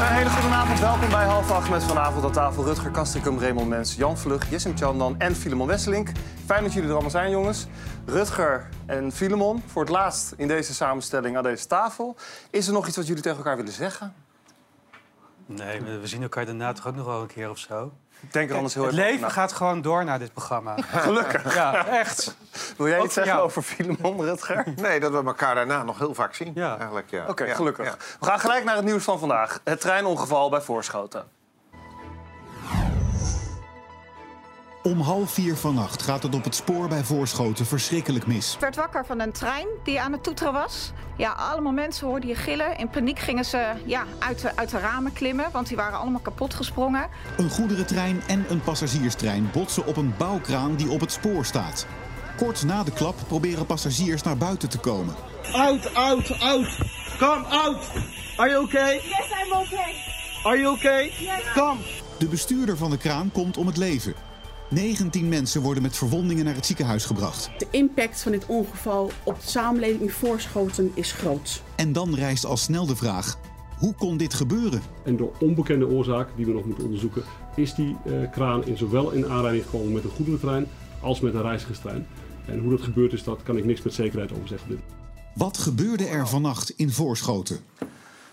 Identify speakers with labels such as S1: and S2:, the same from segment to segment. S1: Een hele goede avond. Welkom bij half acht met vanavond aan tafel Rutger Kastrikum, Raymond Mens, Jan Vlug, Jessim Chandan en Filemon Wesselink. Fijn dat jullie er allemaal zijn, jongens. Rutger en Filemon, voor het laatst in deze samenstelling aan deze tafel. Is er nog iets wat jullie tegen elkaar willen zeggen?
S2: Nee, we we zien elkaar daarna toch ook nog wel een keer of zo.
S1: Denk er anders heel
S2: Het
S1: even
S2: leven
S1: over na.
S2: gaat gewoon door na dit programma.
S1: Gelukkig.
S2: Ja, echt.
S1: Wil jij
S2: Ook
S1: iets
S2: voor
S1: zeggen
S2: jou.
S1: over Filemon, Rutger?
S3: Nee, dat we elkaar daarna nog heel vaak zien.
S2: Ja.
S3: Eigenlijk, ja.
S1: Oké,
S3: Ja,
S1: gelukkig.
S3: ja.
S1: We gaan gelijk naar het nieuws van vandaag. Het treinongeval bij Voorschoten.
S4: Om half vier vannacht gaat het op het spoor bij Voorschoten verschrikkelijk mis.
S5: Ik werd wakker van een trein die aan het toeteren was. Ja, allemaal mensen hoorden je gillen. In paniek gingen ze ja, uit, de, uit de ramen klimmen, want die waren allemaal kapot gesprongen.
S4: Een goederentrein en een passagierstrein botsen op een bouwkraan die op het spoor staat. Kort na de klap proberen passagiers naar buiten te komen.
S6: Out, out, out. Come out. Are you okay?
S7: Yes, I'm okay.
S6: Are you okay? Come.
S4: De bestuurder van de kraan komt om het leven. 19 mensen worden met verwondingen naar het ziekenhuis gebracht.
S7: De impact van dit ongeval op de samenleving in Voorschoten is groot.
S4: En dan rijst al snel de vraag: hoe kon dit gebeuren?
S8: En door onbekende oorzaak, die we nog moeten onderzoeken, is die eh, kraan in zowel in aanrijding gekomen met een goederentrein als met een reizigerstrein. En hoe dat gebeurd is, dat kan ik niks met zekerheid over zeggen. op dit moment.
S4: Wat gebeurde er vannacht in Voorschoten?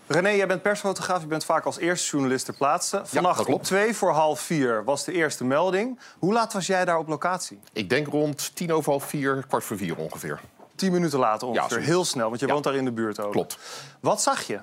S1: René, jij bent persfotograaf. Je bent vaak als eerste journalist ter plaatse. Vannacht
S9: dat
S1: om
S9: klopt.
S1: twee voor half vier was de eerste melding. Hoe laat was jij daar op locatie?
S9: Ik denk rond tien over half vier, kwart voor vier ongeveer.
S1: Tien minuten later
S9: Ja,
S1: ongeveer.
S9: zoiets.
S1: Heel snel, want je
S9: Ja.
S1: woont daar in de buurt ook.
S9: Klopt.
S1: Wat zag je?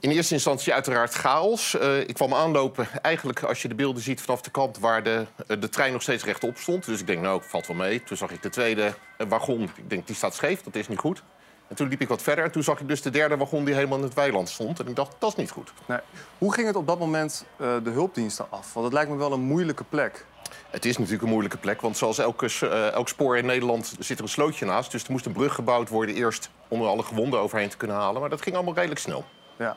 S9: In eerste instantie uiteraard chaos. Eh, ik kwam aanlopen, eigenlijk als je de beelden ziet vanaf de kant waar de, eh, de trein nog steeds rechtop stond. Dus ik denk, nou, valt wel mee. Toen zag ik de tweede eh, wagon. Ik denk, die staat scheef, dat is niet goed. En toen liep ik wat verder en toen zag ik dus de derde wagon die helemaal in het weiland stond. En ik dacht, dat is niet goed.
S1: Nee. Hoe ging het op dat moment eh, de hulpdiensten af? Want het lijkt me wel een moeilijke plek.
S9: Het is natuurlijk een moeilijke plek, want zoals elke, s- eh, elk spoor in Nederland zit er een slootje naast. Dus er moest een brug gebouwd worden eerst om er alle gewonden overheen te kunnen halen. Maar dat ging allemaal redelijk snel.
S1: Ja.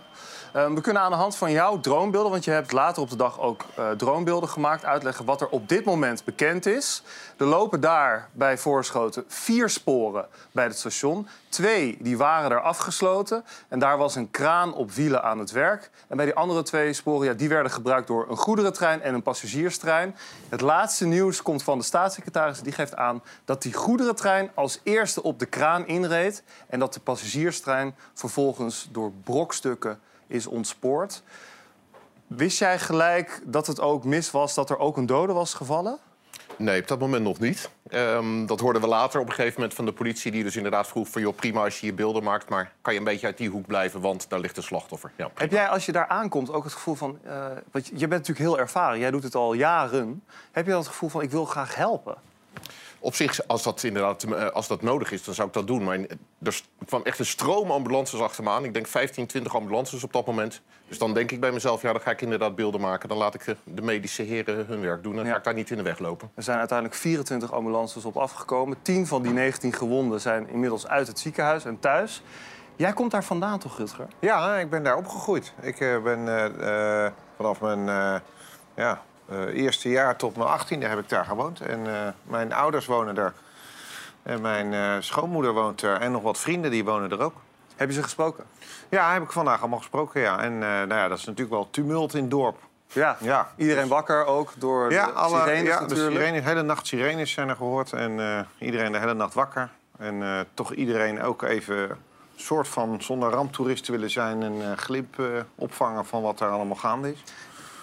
S1: Eh, we kunnen aan de hand van jouw droombeelden, want je hebt later op de dag ook eh, droombeelden gemaakt, uitleggen wat er op dit moment bekend is. Er lopen daar bij Voorschoten vier sporen bij het station. Twee die waren er afgesloten en daar was een kraan op wielen aan het werk. En bij die andere twee sporen, ja, die werden gebruikt door een goederentrein en een passagierstrein. Het laatste nieuws komt van de staatssecretaris. Die geeft aan dat die goederentrein als eerste op de kraan inreed. En dat de passagierstrein vervolgens door brokstukken is ontspoord. Wist jij gelijk dat het ook mis was dat er ook een dode was gevallen?
S9: Nee, op dat moment nog niet. Ehm, dat hoorden we later op een gegeven moment van de politie... die dus inderdaad vroeg van, joh, prima als je je beelden maakt... maar kan je een beetje uit die hoek blijven, want daar ligt een slachtoffer. Ja.
S1: Heb jij als je daar aankomt ook het gevoel van... eh, want je je bent natuurlijk heel ervaren, jij doet het al jaren. Heb je dan het gevoel van ik wil graag helpen?
S9: Op zich, als dat inderdaad eh, als dat nodig is, dan zou ik dat doen. Maar eh, er s- kwam echt een stroom ambulances achter me aan. Ik denk 15, 20 ambulances op dat moment. Dus dan denk ik bij mezelf, ja, dan ga ik inderdaad beelden maken. Dan laat ik eh, de medische heren hun werk doen. Dan
S1: Ja.
S9: ga ik daar niet in de weg lopen.
S1: Er zijn uiteindelijk 24 ambulances op afgekomen. 10 van die 19 gewonden zijn inmiddels uit het ziekenhuis en thuis. Jij komt daar vandaan toch, Rutger?
S3: Ja, ik ben daar opgegroeid. Ik eh, ben eh, eh, vanaf mijn eh, ja, eh, eerste jaar tot mijn achttiende heb ik daar gewoond. En eh, mijn ouders wonen daar. En mijn eh, schoonmoeder woont er. En nog wat vrienden die wonen er ook.
S1: Heb je ze gesproken?
S3: Ja, heb ik vandaag allemaal gesproken, ja. En eh, nou ja, dat is natuurlijk wel tumult in het dorp.
S1: Ja.
S3: Ja.
S1: Iedereen wakker ook door
S3: Ja,
S1: de
S3: alle
S1: sirenes
S3: ja, de
S1: natuurlijk.
S3: sirenes, hele nacht sirenes zijn er gehoord. En eh, iedereen de hele nacht wakker. En eh, toch iedereen ook even soort van zonder ramptoerist te willen zijn... een eh, glimp eh, opvangen van wat er allemaal gaande is.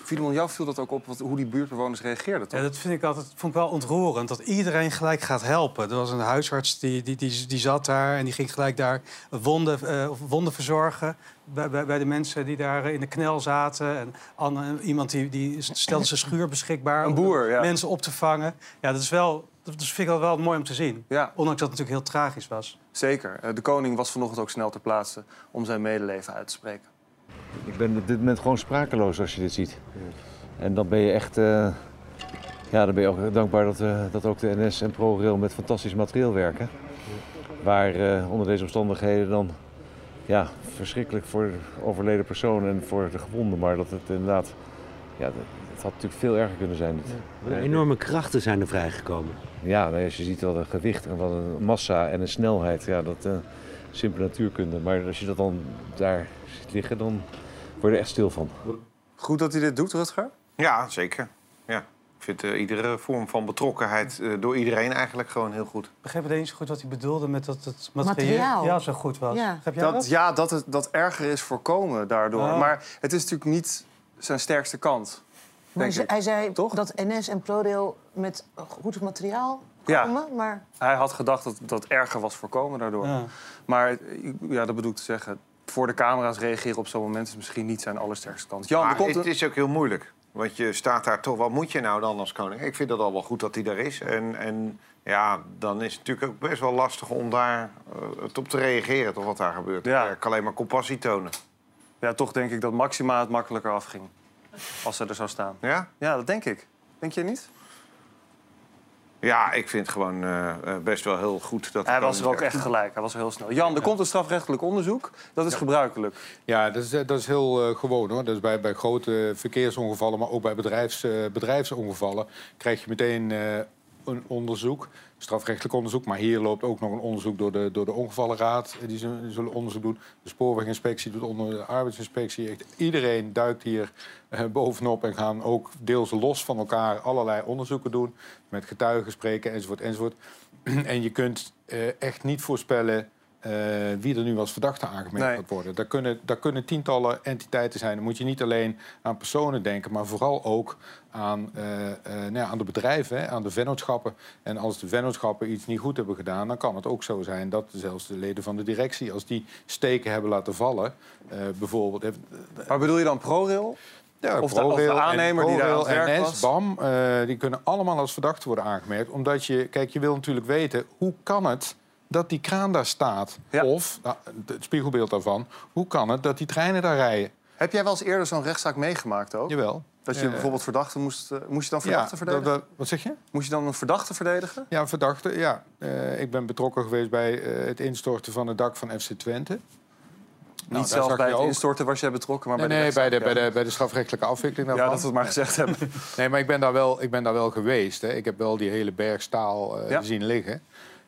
S1: Filemon, jou viel dat ook op wat, hoe die buurtbewoners reageerden,
S3: Eh,
S1: toch?
S2: Ja, dat vind ik altijd, vond ik wel ontroerend, dat iedereen gelijk gaat helpen. Er was een huisarts die, die, die, die zat daar en die ging gelijk daar wonden, eh, of wonden verzorgen... Bij, bij, bij de mensen die daar eh, in de knel zaten. En Anne, iemand die, die stelde zijn schuur beschikbaar...
S1: Een
S2: om
S1: boer, ja.
S2: mensen op te vangen. Ja, dat, is wel, dat vind ik wel, wel mooi om te zien.
S1: Ja.
S2: Ondanks dat het natuurlijk heel tragisch was.
S1: Zeker. Eh, De koning was vanochtend ook snel ter plaatse om zijn medeleven uit te spreken.
S10: Ik ben op dit moment gewoon sprakeloos als je dit ziet. En dan ben je echt eh, ja, dan ben je ook dankbaar dat, eh, dat ook de NS en ProRail met fantastisch materieel werken. Waar eh, onder deze omstandigheden dan ja, verschrikkelijk voor overleden personen en voor de gewonden, maar dat het inderdaad ja, de- Het had natuurlijk veel erger kunnen zijn. Dit.
S11: Wat een enorme krachten zijn er vrijgekomen.
S10: Ja, nou, als je ziet wat een gewicht en wat een massa en een snelheid. Ja, dat eh simpele natuurkunde. Maar als je dat dan daar ziet liggen, dan word je er echt stil van.
S1: Goed dat hij dit doet, Rutger?
S3: Ja, zeker. Ja. Ik vind eh, iedere vorm van betrokkenheid eh, door iedereen eigenlijk gewoon heel goed.
S2: Ik begreep het eens goed wat hij bedoelde met dat het
S1: Materiaal.
S2: materiaal ja, zo goed was.
S1: Ja.
S2: Begrijp jij
S1: dat,
S2: dat?
S1: Ja, dat, het, dat erger is voorkomen daardoor.
S2: Ah.
S1: Maar het is natuurlijk niet zijn sterkste kant.
S12: Maar
S1: Denk
S12: ze-
S1: ik.
S12: hij zei dat NS en ProRail met goed materiaal
S1: Ja.
S12: komen, maar...
S1: Hij had gedacht dat dat erger was voorkomen daardoor.
S12: Ja.
S1: Maar eh, ja, dat bedoel ik te zeggen. Voor de camera's reageren op zo'n moment is misschien niet zijn allersterkste kant. Jan, er
S3: maar
S1: komt
S3: het
S1: een-
S3: is ook heel moeilijk. Want je staat daar toch, wat moet je nou dan als koning? Ik vind het al wel goed dat hij daar is. En, en ja, dan is het natuurlijk ook best wel lastig om daar eh, het op te reageren, toch wat daar gebeurt. Ja. Ik kan alleen maar compassie tonen.
S1: Ja, toch denk ik dat Maxima het makkelijker afging. Als ze er zou staan.
S3: Ja?
S1: Ja, dat denk ik. Denk je niet?
S3: Ja, ik vind het gewoon eh, eh, best wel heel goed dat de
S1: Hij was
S3: koning
S1: er ook
S3: zegt- "Hm,
S1: echt gelijk. Hij was er heel snel. Jan, er komt een strafrechtelijk onderzoek. Dat is gebruikelijk.
S13: Ja, dat is, eh, dat is heel eh, gewoon hoor. Dus bij, bij grote verkeersongevallen, maar ook bij bedrijfs, eh, bedrijfsongevallen, krijg je meteen eh, een onderzoek, strafrechtelijk onderzoek. Maar hier loopt ook nog een onderzoek door de, door de ongevallenraad. Eh, Die zullen, die zullen onderzoek doen. De spoorweginspectie doet onder de arbeidsinspectie. Echt iedereen duikt hier eh, bovenop en gaan ook deels los van elkaar allerlei onderzoeken doen. Met getuigen spreken enzovoort enzovoort. en je kunt eh, echt niet voorspellen. eh, wie er nu als verdachte aangemerkt
S1: Nee.
S13: gaat worden. Daar kunnen, daar kunnen tientallen entiteiten zijn. Dan moet je niet alleen aan personen denken, maar vooral ook aan, eh, eh, nou ja, aan de bedrijven, hè, aan de vennootschappen. En als de vennootschappen iets niet goed hebben gedaan, dan kan het ook zo zijn dat zelfs de leden van de directie, als die steken hebben laten vallen, eh, bijvoorbeeld.
S1: Maar bedoel je dan ProRail?
S13: Ja,
S1: Of de- of de
S13: ProRail en-
S1: aannemer die daar aan
S13: ProRail,
S1: het werk
S13: NS,
S1: was?
S13: BAM, eh, die kunnen allemaal als verdachte worden aangemerkt. Omdat je, kijk, je wil natuurlijk weten, hoe kan het dat die kraan daar staat? Of, nou, het spiegelbeeld daarvan, hoe kan het dat die treinen daar rijden?
S1: Heb jij wel eens eerder zo'n rechtszaak meegemaakt ook?
S13: Jawel.
S1: Dat je
S13: Ja.
S1: bijvoorbeeld verdachten moest... eh, Moest je dan verdachten
S13: Ja, dat-
S1: verdedigen?
S13: dat- wat zeg je?
S1: Moest je dan een verdachte verdedigen?
S13: Ja, verdachte, ja. Eh, ik ben betrokken geweest bij eh, het instorten van het dak van FC Twente. Nou,
S1: niet
S13: daar
S1: zelfs
S13: zag
S1: bij
S13: je
S1: het
S13: ook-
S1: instorten was jij betrokken, maar
S13: nee,
S1: bij de
S13: nee, bij, de,
S1: rechtszaak,
S13: bij,
S1: ja.
S13: de, bij de strafrechtelijke afwikkeling daarvan.
S1: Ja, dat we het maar gezegd hebben.
S13: nee, maar ik ben daar wel, ik ben daar wel geweest. Hè. Ik heb wel die hele berg staal eh,
S1: Ja.
S13: zien liggen.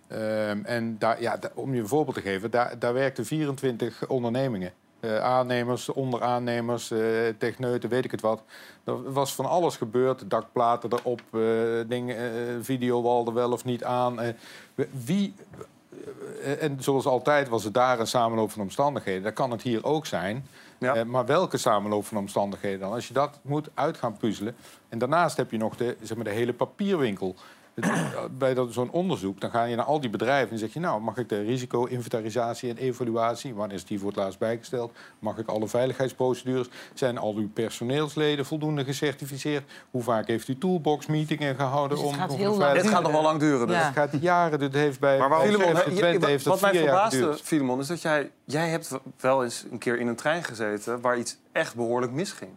S13: Ehm, en daar, ja, da- om je een voorbeeld te geven, daar, daar werkten 24 ondernemingen. Eh, aannemers, onderaannemers, eh, techneuten, weet ik het wat. Er was van alles gebeurd. Dakplaten erop, eh dingen, eh, videowal er wel of niet aan. eh. wie, eh, en zoals altijd was het daar een samenloop van omstandigheden. Dat kan het hier ook zijn. Eh, maar welke samenloop van omstandigheden dan? Als je dat moet uit gaan puzzelen. En daarnaast heb je nog de, zeg maar, de hele papierwinkel. Het- eh, Bij dat- zo'n onderzoek, dan ga je naar al die bedrijven en zeg je... nou, mag ik de risico-inventarisatie en evaluatie... wanneer is die voor het laatst bijgesteld? Mag ik alle veiligheidsprocedures? Zijn al uw personeelsleden voldoende gecertificeerd? Hoe vaak heeft u toolbox-meetingen gehouden?
S12: Dus het gaat
S13: om,
S12: heel
S13: om
S12: lang
S13: Het
S12: Dit gaat nog wel lang duren dus. Ja.
S13: Het gaat jaren, dit heeft bij...
S1: Maar
S13: bij
S1: waarom,
S13: Sheriff
S1: hè,
S13: van
S1: je-
S13: Twente
S1: wat-
S13: heeft dat
S1: wat mij
S13: vier jaar
S1: verbaasde,
S13: geduurd.
S1: Filemon, is dat jij, jij hebt w- wel eens een keer in een trein gezeten waar iets echt behoorlijk misging.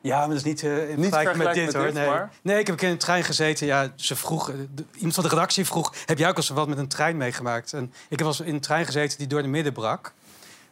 S2: Ja, maar dat is niet, eh, in
S1: Niet
S2: vergelijking met dit,
S1: vergelijkbaar
S2: hoor.
S1: met dit,
S2: nee.
S1: maar-
S2: nee, ik heb een keer in een trein gezeten. Ja, ze vroeg, eh, de- iemand van de redactie vroeg: Heb jij ook al eens wat met een trein meegemaakt? En ik heb wel eens in een trein gezeten die door de midden brak.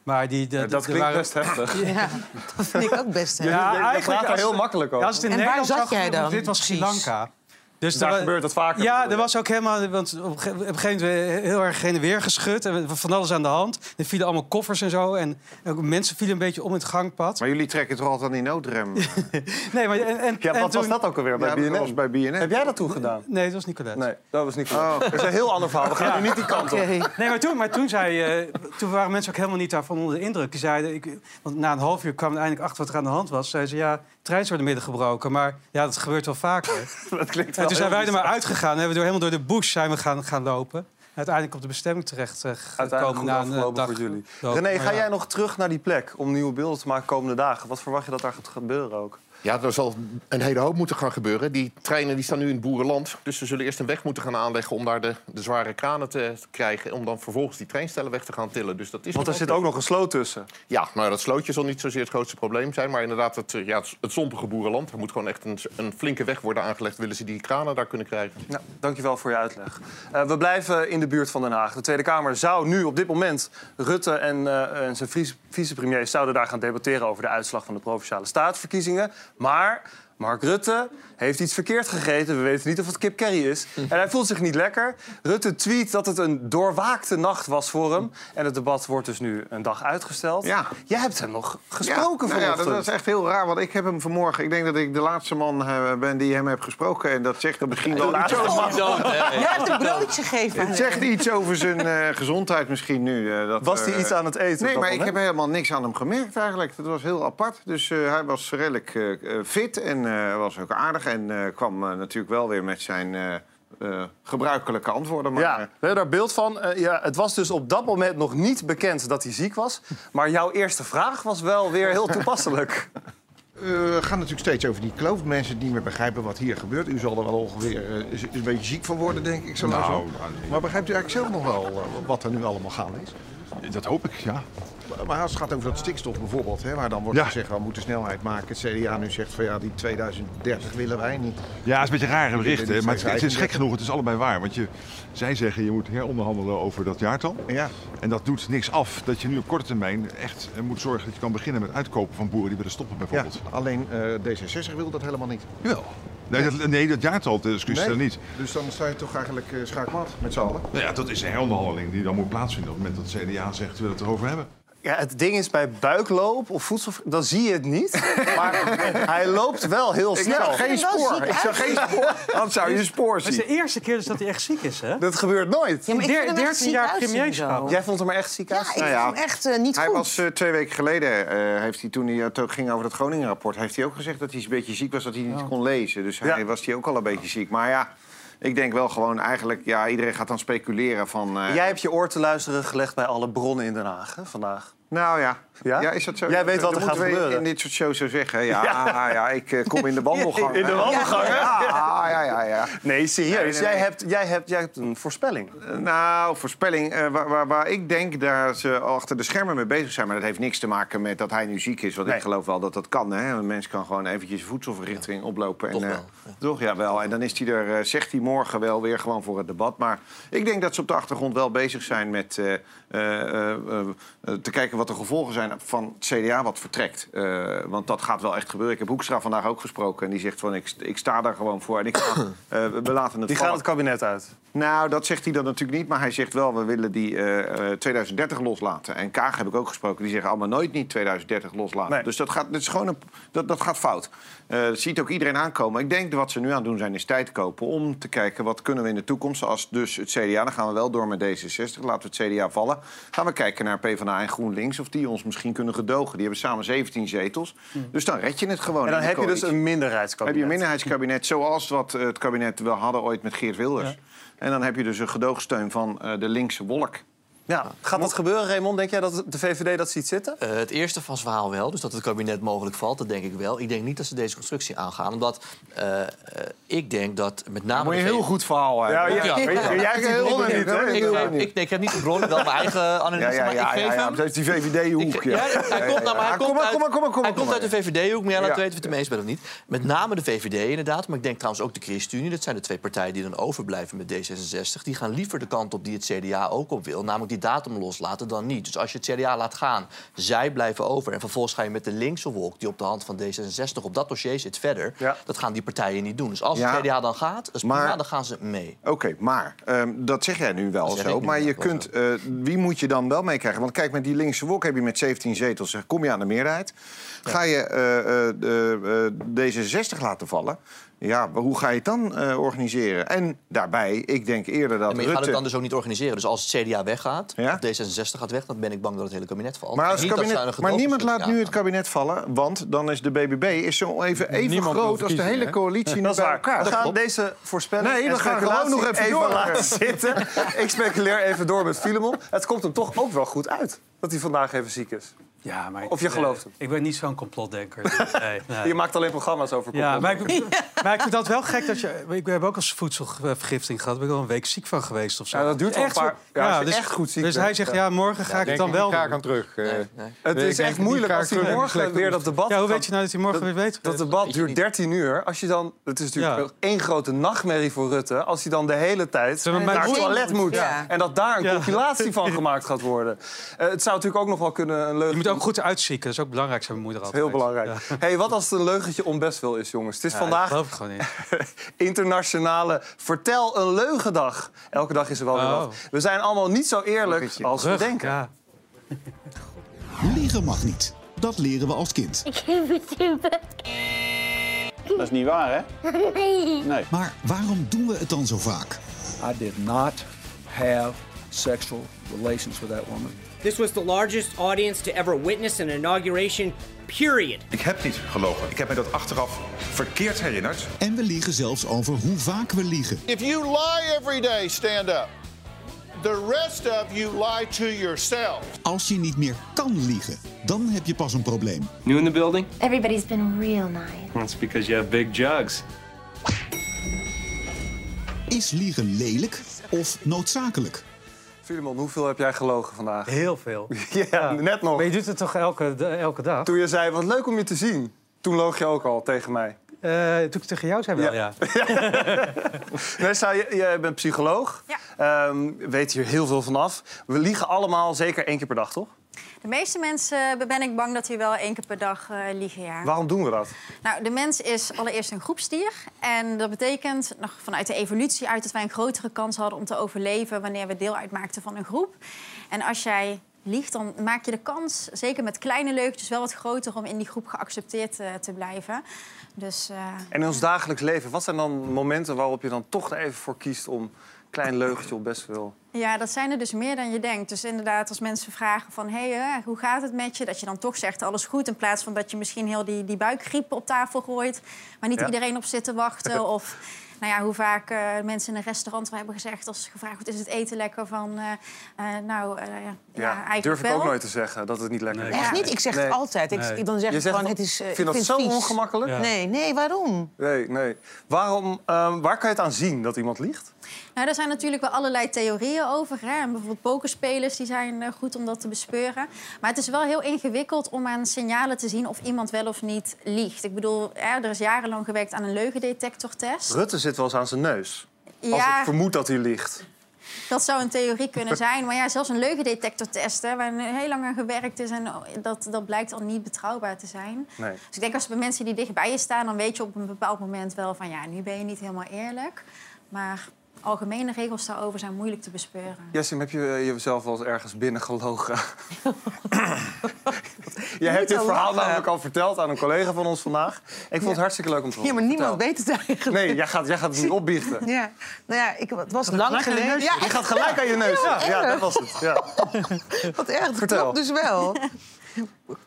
S2: Maar die, de,
S1: dat
S2: er
S1: klinkt best heftig.
S12: Ja, dat vind ik ook best. hè.
S2: Ja, eigenlijk
S1: praat daar
S2: als-
S1: heel makkelijk over.
S2: ja, als het in
S12: En waar
S2: Nederland
S12: zat
S2: zou
S12: jij
S2: gebeuren,
S12: dan
S2: Dit was Sri
S12: precies?
S2: Lanwa. Dus
S1: Daar
S2: wa-
S1: gebeurt dat vaker,
S2: Ja, er was ook helemaal. Want op, ge- op een gegeven moment heel erg heen en weer geschud. En van alles aan de hand. Er vielen allemaal koffers en zo. En ook mensen vielen een beetje om het gangpad.
S3: Maar jullie trekken toch altijd aan die noodrem?
S2: nee, maar en, en,
S1: Ja,
S2: en
S1: wat was
S2: toen-
S1: dat ook alweer bij
S3: Ja, dat
S1: BNN?
S3: was bij BNN.
S1: Heb jij dat toen gedaan?
S2: Nee, dat was Nicolette.
S1: Nee, dat was Nicolette. Dat is een heel ander verhaal. We gaan
S2: Ja.
S1: nu niet die kant op.
S2: Nee, maar toen, maar toen, zei, eh, toen waren mensen ook helemaal niet daarvan onder de indruk. Die zeiden, ik, want na een half uur kwam uiteindelijk achter wat er aan de hand was. Zeiden ze, ja, treins worden midden gebroken. Maar ja, dat gebeurt wel vaker.
S1: dat klinkt
S2: en
S1: wel
S2: toen zijn
S1: heel
S2: wij er maar
S1: bizar.
S2: uitgegaan. En hebben we door, helemaal door de bush zijn we gaan, gaan lopen. En uiteindelijk op de bestemming terecht eh,
S1: Uiteindelijk
S2: gekomen
S1: goed
S2: na een eh,
S1: afgelopen
S2: dag.
S1: voor jullie.
S2: lopen.
S1: René,
S2: Maar
S1: ga
S2: ja.
S1: jij nog terug naar die plek om nieuwe beelden te maken komende dagen? Wat verwacht je dat daar gaat gebeuren ook?
S9: Ja, er zal een hele hoop moeten gaan gebeuren. Die treinen die staan nu in het boerenland. Dus ze zullen eerst een weg moeten gaan aanleggen om daar de, de zware kranen te krijgen. Om dan vervolgens die treinstellen weg te gaan tillen. Dus dat is
S1: Want er zit ook nog een sloot tussen.
S9: Ja, nou, dat slootje zal niet zozeer het grootste probleem zijn. Maar inderdaad, het, eh, ja, het, het zompige boerenland. Er moet gewoon echt een, een flinke weg worden aangelegd. Willen ze die kranen daar kunnen krijgen?
S1: Nou, dankjewel voor je uitleg. Eh, we blijven in de buurt van Den Haag. De Tweede Kamer zou nu op dit moment... Rutte en, eh, en zijn vice- vicepremier zouden daar gaan debatteren... over de uitslag van de Provinciale Staatsverkiezingen. Maar Mark Rutte heeft iets verkeerd gegeten. We weten niet of het kip curry is. En hij voelt zich niet lekker. Rutte tweet dat het een doorwaakte nacht was voor hem. En het debat wordt dus nu een dag uitgesteld. Ja. Jij hebt hem nog gesproken
S3: ja, nou ja, dat, dat
S1: vanochtend.
S3: is echt heel raar, want ik heb hem vanmorgen... Ik denk dat ik de laatste man eh, ben die hem heb gesproken. En dat zegt er misschien wel iets over.
S12: Jij hebt een broodje gegeven.
S3: Het zegt iets over zijn eh, gezondheid misschien nu. eh, dat,
S1: Was hij
S3: eh,
S1: iets aan het eten op
S3: Nee,
S1: dat
S3: maar ik
S1: moment?
S3: heb helemaal niks aan hem gemerkt eigenlijk. Dat was heel apart. Dus eh, hij was redelijk eh, eh, fit en eh, was ook aardig. En eh, kwam eh, natuurlijk wel weer met zijn eh, eh, gebruikelijke antwoorden. Maar, eh,
S1: Ja, we hebben daar beeld van. Eh, ja, het was dus op dat moment nog niet bekend dat hij ziek was. Maar jouw eerste vraag was wel weer heel toepasselijk.
S14: Eh, We gaan natuurlijk steeds over die kloof. Mensen die niet meer begrijpen wat hier gebeurt. U zal er wel ongeveer eh, z- een beetje ziek van worden, denk ik. Zo
S15: Nou,
S14: langzaam.
S15: nou, nee.
S14: maar begrijpt u eigenlijk zelf nog wel eh, wat er nu allemaal gaande is?
S15: Dat hoop ik, ja.
S14: Maar als het gaat over dat stikstof bijvoorbeeld, hè, waar dan wordt
S15: Ja.
S14: gezegd... we moeten snelheid maken. Het CDA nu zegt van ja, die 2030 willen wij niet.
S15: Ja, het is een beetje rare berichten, maar het, het is gek
S14: 2035.
S15: genoeg, het is allebei waar. Want je, zij zeggen je moet heronderhandelen over dat jaartal.
S14: Ja.
S15: En dat doet niks af dat je nu op korte termijn echt eh, moet zorgen dat je kan beginnen met uitkopen van boeren die willen stoppen bijvoorbeeld.
S14: Alleen eh, D66 wil dat helemaal niet.
S15: Jawel. Nee, dat, nee, dat jaartal, de discussie
S14: Nee.
S15: daar niet.
S14: Dus dan sta je toch eigenlijk eh, schaakmat met z'n allen?
S15: Nou ja, dat is een heronderhandeling die dan moet plaatsvinden op het moment dat het CDA zegt we het erover hebben.
S1: Ja, het ding is bij buikloop of voedsel, dan zie je het niet. Maar hij loopt wel heel
S3: Ik
S1: snel.
S3: zag geen spoor. Ik zag geen spoor. Dan zou je spoor
S2: Het is de
S3: zien.
S2: eerste keer dus dat hij echt ziek is, hè?
S1: Dat gebeurt nooit.
S12: Ja, maar ik
S2: Der-
S12: vind hem echt
S2: 13
S12: ziek
S2: jaar
S12: uitzien
S2: premierschap.
S12: zo.
S1: Jij vond hem er echt ziek uit?
S12: Ja, ik vond hem echt eh, niet
S3: hij
S12: goed.
S3: was eh, twee weken geleden, eh, heeft hij, toen hij eh, to- ging over dat Groningen-rapport... heeft hij ook gezegd dat hij een beetje ziek was, dat hij niet
S1: Oh.
S3: kon lezen. Dus hij was hij ook al een beetje ziek. Maar ja, ik denk wel gewoon eigenlijk... Ja, iedereen gaat dan speculeren van... eh,
S1: Jij hebt je oor te luisteren gelegd bij alle bronnen in Den Haag hè, vandaag.
S3: Nou ja.
S1: Ja?
S3: is dat zo?
S1: Jij weet wat er
S3: Dat
S1: gaat
S3: moeten we
S1: gebeuren.
S3: in dit soort shows zo zeggen. Ja, ja. ik eh, kom in de wandelgang.
S1: In de wandelgang, hè?
S3: Ja, ja, ja. ja, ja.
S1: Nee, serieus.
S3: Nee, nee,
S1: Jij,
S3: nee.
S1: hebt, jij, hebt, jij hebt een voorspelling.
S3: Eh, Nou, voorspelling. eh, waar, waar, waar ik denk dat ze achter de schermen mee bezig zijn. Maar dat heeft niks te maken met dat hij nu ziek is. Want ik geloof wel dat dat kan. Hè? Een mens kan gewoon eventjes een voedselvergiftiging oplopen. En, toch, wel, toch? Ja, wel. En dan is hij er, eh, zegt hij morgen wel weer gewoon voor het debat. Maar ik denk dat ze op de achtergrond wel bezig zijn met eh, eh, eh, eh, eh, te kijken wat de gevolgen zijn van het CDA wat vertrekt. Eh, want dat gaat wel echt gebeuren. Ik heb Hoekstra vandaag ook gesproken. En die zegt van ik, ik sta daar gewoon voor. En ik ga, eh, we laten het
S1: Die gaat
S3: vallen.
S1: het kabinet uit.
S3: Nou, dat zegt hij dan natuurlijk niet. Maar hij zegt wel, we willen die eh, eh, 2030 loslaten. En Kaag heb ik ook gesproken. Die zeggen allemaal nooit niet 2030 loslaten. Dus dat gaat, dat is gewoon een, dat, dat gaat fout. Eh, dat ziet ook iedereen aankomen. Ik denk dat wat ze nu aan het doen zijn is tijd kopen... om te kijken wat kunnen we in de toekomst. Als dus het CDA, dan gaan we wel door met D66. Laten we het CDA vallen. Gaan we kijken naar PvdA en GroenLinks... of die ons misschien kunnen gedogen. Die hebben samen 17 zetels. Dus dan red je het gewoon.
S1: Hmm. En
S3: in
S1: dan
S3: de
S1: heb je dus
S3: coalitie.
S1: een minderheidskabinet.
S3: Heb je een minderheidskabinet, zoals wat eh, het kabinet wel hadden ooit met Geert Wilders. En dan heb je dus een gedoogsteun van eh, de linkse wolk.
S1: Ja, gaat dat gebeuren, Raymond? Denk jij dat de VVD dat ziet zitten?
S16: Eh, het eerste van het verhaal wel, dus dat het kabinet mogelijk valt, dat denk ik wel. Ik denk niet dat ze deze constructie aangaan, omdat eh, eh, ik denk dat met name...
S3: Moet je
S16: de
S3: een heel
S16: V-
S3: goed verhaal hebben.
S16: Ja. Ik- ik-
S3: Ik-
S16: Ik ik- ik heb niet de bronnen, wel mijn eigen
S3: Ja,
S16: analyse,
S3: ja,
S16: maar ik
S3: ja, ja,
S16: geef
S3: ja,
S16: hem...
S3: dat is die VVD-hoek.
S16: Ja, hij komt, nou, maar hij komt uit- hij
S3: Ah, kom
S16: komt
S3: maar.
S16: uit de VVD-hoek, maar jij laat
S3: Ja.
S16: weten of je het ermee eens bent of niet. Met name de VVD inderdaad, maar ik denk trouwens ook de ChristenUnie. Dat zijn de twee partijen die dan overblijven met D66. Die gaan liever de kant op die het CDA ook op wil. Namelijk die datum loslaten dan niet. Dus als je het CDA laat gaan, zij blijven over. En vervolgens ga je met de linkse wolk die op de hand van D66 op dat dossier zit verder. Dat gaan die partijen niet doen. Dus als
S3: Ja.
S16: het CDA dan gaat, dat is prima, dan gaan ze mee.
S3: Oké, maar ehm, dat zeg jij nu wel
S16: Dat zeg
S3: zo.
S16: ik nu
S3: Maar
S16: wel,
S3: je
S16: dat was
S3: kunt, eh, wie moet je dan wel meekrijgen? Want kijk, met die linkse wok heb je met 17 zetels, eh, kom je aan de meerderheid. Ga je eh, eh, eh, eh, D66 laten vallen? Ja, maar hoe ga je het dan eh, organiseren? En daarbij, ik denk eerder dat
S16: Maar je
S3: Rutte...
S16: gaat het dan dus ook niet organiseren. Dus als het CDA weggaat,
S3: Ja?
S16: of D66 gaat weg... dan ben ik bang dat het hele kabinet valt.
S3: Maar,
S16: En
S3: als
S16: niet
S3: het
S16: dat ze
S3: kabinet,
S16: aan een
S3: maar niemand
S16: gedoogconstructie
S3: laat nu het kabinet vallen, want dan is de BBB is zo even, even
S1: Niemand wil
S3: groot als de
S1: verkiezingen,
S3: hele
S1: hè?
S3: coalitie nu
S1: Dat is
S3: bij
S1: waar.
S3: elkaar.
S1: We gaan deze voorspelling
S3: Nee,
S1: en
S3: we gaan gewoon nog even,
S1: speculatie
S3: door.
S1: laten zitten. Ik speculeer even door met Filemon. Het komt hem toch ook wel goed uit dat hij vandaag even ziek is.
S2: Ja, maar ik-
S1: Of je gelooft
S2: eh, Ik ben niet zo'n complotdenker. Nee, nee.
S1: Je maakt alleen programma's over
S2: Ja, maar
S1: complotten.
S2: ik, maar ik vind dat wel gek dat je... Ik heb ook als voedselvergifting gehad. Ben ik al een week ziek van geweest of zo.
S1: Ja, dat duurt wel een paar-
S2: zo-
S1: ja, als je echt goed ziek
S2: Dus
S1: bent,
S2: hij zegt,
S1: ja.
S2: ja, morgen ga
S1: Ja,
S2: ik het
S1: denk
S2: dan
S1: ik
S2: wel
S1: niet graag
S2: doen.
S1: aan terug, eh. Nee, nee. Het
S2: Ik
S1: is
S2: denk
S1: echt
S2: niet
S1: moeilijk
S2: graag
S1: als hij
S2: terug in de
S1: morgen
S2: slechte
S1: weer dat debat
S2: Ja, hoe
S1: gaat-
S2: weet je nou dat hij morgen weer weet?
S1: Dat debat duurt 13 uur. Als je dan, het is natuurlijk
S2: Ja.
S1: wel één grote nachtmerrie voor Rutte... als hij dan de hele tijd
S2: Zeg maar, mijn
S1: naar het
S2: broer-
S1: toilet moet.
S2: Ja.
S1: En dat daar een
S2: Ja.
S1: compilatie van gemaakt gaat worden. Eh, het zou natuurlijk ook nog wel kunnen een leugen
S2: Je moet ook ook goed uitzieken. Dat is ook belangrijk, zijn moeder altijd.
S1: Heel belangrijk. hey, wat als het een leugentje onbest wel is, jongens? Het is
S2: Ja,
S1: vandaag
S2: ik geloof het gewoon niet.
S1: internationale Vertel een Leugendag. Elke dag is er wel weer
S2: Oh.
S1: wat. We zijn allemaal niet zo eerlijk als we
S4: Rug,
S1: denken.
S4: Liegen mag niet. Dat leren we als kind.
S17: Ik heb het in bed.
S4: Dat is niet waar, hè?
S17: Nee.
S4: Maar waarom doen we het dan zo vaak?
S18: I did not have sexual relations with that woman.
S19: This was the largest audience to ever witness an inauguration, period.
S15: Ik heb niet gelogen. Ik heb me dat achteraf verkeerd herinnerd.
S4: En we liegen zelfs over hoe vaak we liegen.
S20: If you lie every day, stand up. The rest of you lie to yourself.
S4: Als je niet meer kan liegen, dan heb je pas een probleem.
S21: New in the building?
S17: Everybody's been real nice.
S21: That's because you have big jugs.
S4: Is liegen lelijk of noodzakelijk?
S1: Filemon, hoeveel heb jij gelogen vandaag?
S2: Heel veel.
S1: ja, net nog.
S2: Maar je doet het toch elke, de- elke dag?
S1: Toen je zei, wat leuk om je te zien. Toen loog je ook al tegen mij.
S2: Eh, toen ik het tegen jou zei wel, ja.
S1: Nessa, je- jij bent psycholoog. Ehm, weet hier heel veel van af. We liegen allemaal zeker één keer per dag, toch?
S22: De meeste mensen eh, ben ik bang dat die wel één keer per dag eh, liegen, ja.
S1: Waarom doen we dat?
S22: Nou, de mens is allereerst een groepsdier. En dat betekent nog vanuit de evolutie uit dat wij een grotere kans hadden om te overleven wanneer we deel uitmaakten van een groep. En als jij liegt, dan maak je de kans, zeker met kleine leugentjes, wel wat groter om in die groep geaccepteerd eh, te blijven. Dus eh,
S1: En in ons dagelijks leven, wat zijn dan momenten waarop je dan toch er even voor kiest om een klein leugentje op best wel.
S22: Ja, dat zijn er dus meer dan je denkt. Dus inderdaad, als mensen vragen van... hé, hey, eh, hoe gaat het met je? Dat je dan toch zegt alles goed... in plaats van dat je misschien heel die, die buikgriep op tafel gooit... waar niet
S23: Ja.
S22: iedereen op zit te wachten. of nou ja, hoe vaak eh, mensen in een restaurant wel hebben gezegd... als gevraagd wordt, is het eten lekker? Van, eh, eh, nou, eh, ja, eigenlijk
S1: durf ik
S22: wel.
S1: ook nooit te zeggen dat het niet lekker is.
S22: Echt
S12: niet? Ik zeg het altijd. Ik- ik- dan zeg
S1: Je
S12: ik
S1: zegt
S12: gewoon,
S1: wel-
S12: het is, eh,
S1: Ik
S12: ik
S1: vind dat
S12: vind
S1: zo
S12: het vies.
S1: ongemakkelijk.
S12: Ja. Nee, nee, waarom?
S1: Nee, nee. Waarom, ehm, waar kan je het aan zien dat iemand liegt?
S22: Nou, daar zijn natuurlijk wel allerlei theorieën over. Hè? En Bijvoorbeeld pokerspelers die zijn eh, goed om dat te bespeuren. Maar het is wel heel ingewikkeld om aan signalen te zien of iemand wel of niet liegt. Ik bedoel, hè, er is jarenlang gewerkt aan een leugendetectortest.
S1: Rutte zit wel eens aan zijn neus. Als
S22: Ja.
S1: ik vermoed dat hij liegt.
S22: Dat zou een theorie kunnen zijn. Maar ja, zelfs een leugendetectortest, hè, waar heel lang aan gewerkt is... en oh, dat, dat blijkt al niet betrouwbaar te zijn.
S1: Nee.
S22: Dus ik denk als het bij mensen die dichtbij je staan... dan weet je op een bepaald moment wel van... ja, nu ben je niet helemaal eerlijk. Maar algemene regels daarover zijn moeilijk te bespeuren.
S1: Jessim, heb je eh, jezelf wel eens ergens binnen gelogen? Jij
S12: Niet
S1: hebt dit
S12: te
S1: verhaal
S12: lachen.
S1: namelijk al verteld aan een collega van ons vandaag. Ik vond het hartstikke leuk om te horen.
S12: Ja, maar niemand
S1: Vertel.
S12: weet het eigenlijk.
S1: Nee, jij gaat, jij gaat het niet opbiechten.
S12: Ja, nou ja, ik, het was
S1: Gaat
S12: lang
S1: gelijk aan je
S12: geleden.
S1: neus. Je gaat gelijk aan je neus.
S12: Ja,
S1: Ja, dat was het. Ja.
S12: Wat erg, dat
S1: Vertel.
S12: klopt dus wel.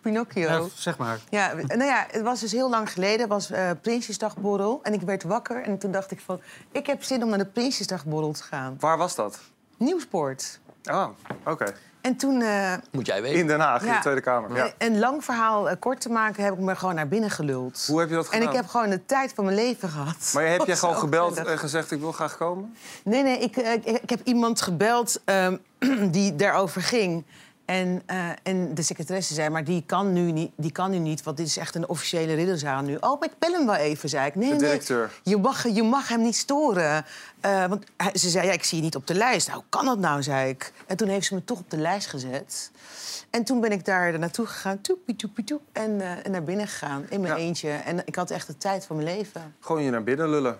S12: Pinocchio.
S2: Ja, zeg maar.
S12: Ja, nou ja, het was dus heel lang geleden. Het was eh Prinsjesdagborrel. En ik werd wakker en toen dacht ik van... ik heb zin om naar de Prinsjesdagborrel te gaan.
S1: Waar was dat?
S12: Nieuwsport.
S1: Oh, oké.
S12: En toen... eh,
S1: Moet jij weten. In Den Haag, in
S12: Ja.
S1: de Tweede Kamer. Ja.
S12: Een lang verhaal eh, kort te maken, heb ik me gewoon naar binnen geluld.
S1: Hoe heb je dat gedaan?
S12: En ik heb gewoon de tijd van mijn leven gehad.
S1: Maar heb
S12: Dat
S1: jij
S12: was
S1: gewoon
S12: ook
S1: gebeld
S12: prettig.
S1: en gezegd ik wil graag komen?
S12: Nee, nee, ik, eh, ik, ik heb iemand gebeld ehm, die daarover ging. En, eh, en de secretaresse zei, maar die kan, nu niet, die kan nu niet, want dit is echt een officiële ridderzaal nu. Oh, maar ik bel hem wel even, zei ik. Nee,
S1: De
S12: nee,
S1: directeur.
S12: je mag, je mag hem niet storen. Eh, want hij- ze zei, ja, ik zie je niet op de lijst. Nou, hoe kan dat nou, zei ik. En toen heeft ze me toch op de lijst gezet. En toen ben ik daar naartoe gegaan, toepie, toepie, toep, en, eh, en naar binnen gegaan, in mijn eentje. En ik had echt de tijd van mijn leven.
S1: Gewoon je naar binnen lullen.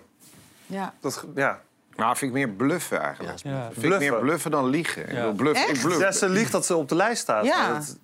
S12: Ja.
S1: Dat, ge- ja.
S3: Nou, vind ik meer bluffen eigenlijk.
S12: Ja, is
S3: Vind ik meer bluffen dan liegen. Ik bedoel, bluff, ik
S1: Echt?
S3: bluff.
S1: Ja, ze liegt dat ze op de lijst staat.
S12: Ja.
S1: Dat-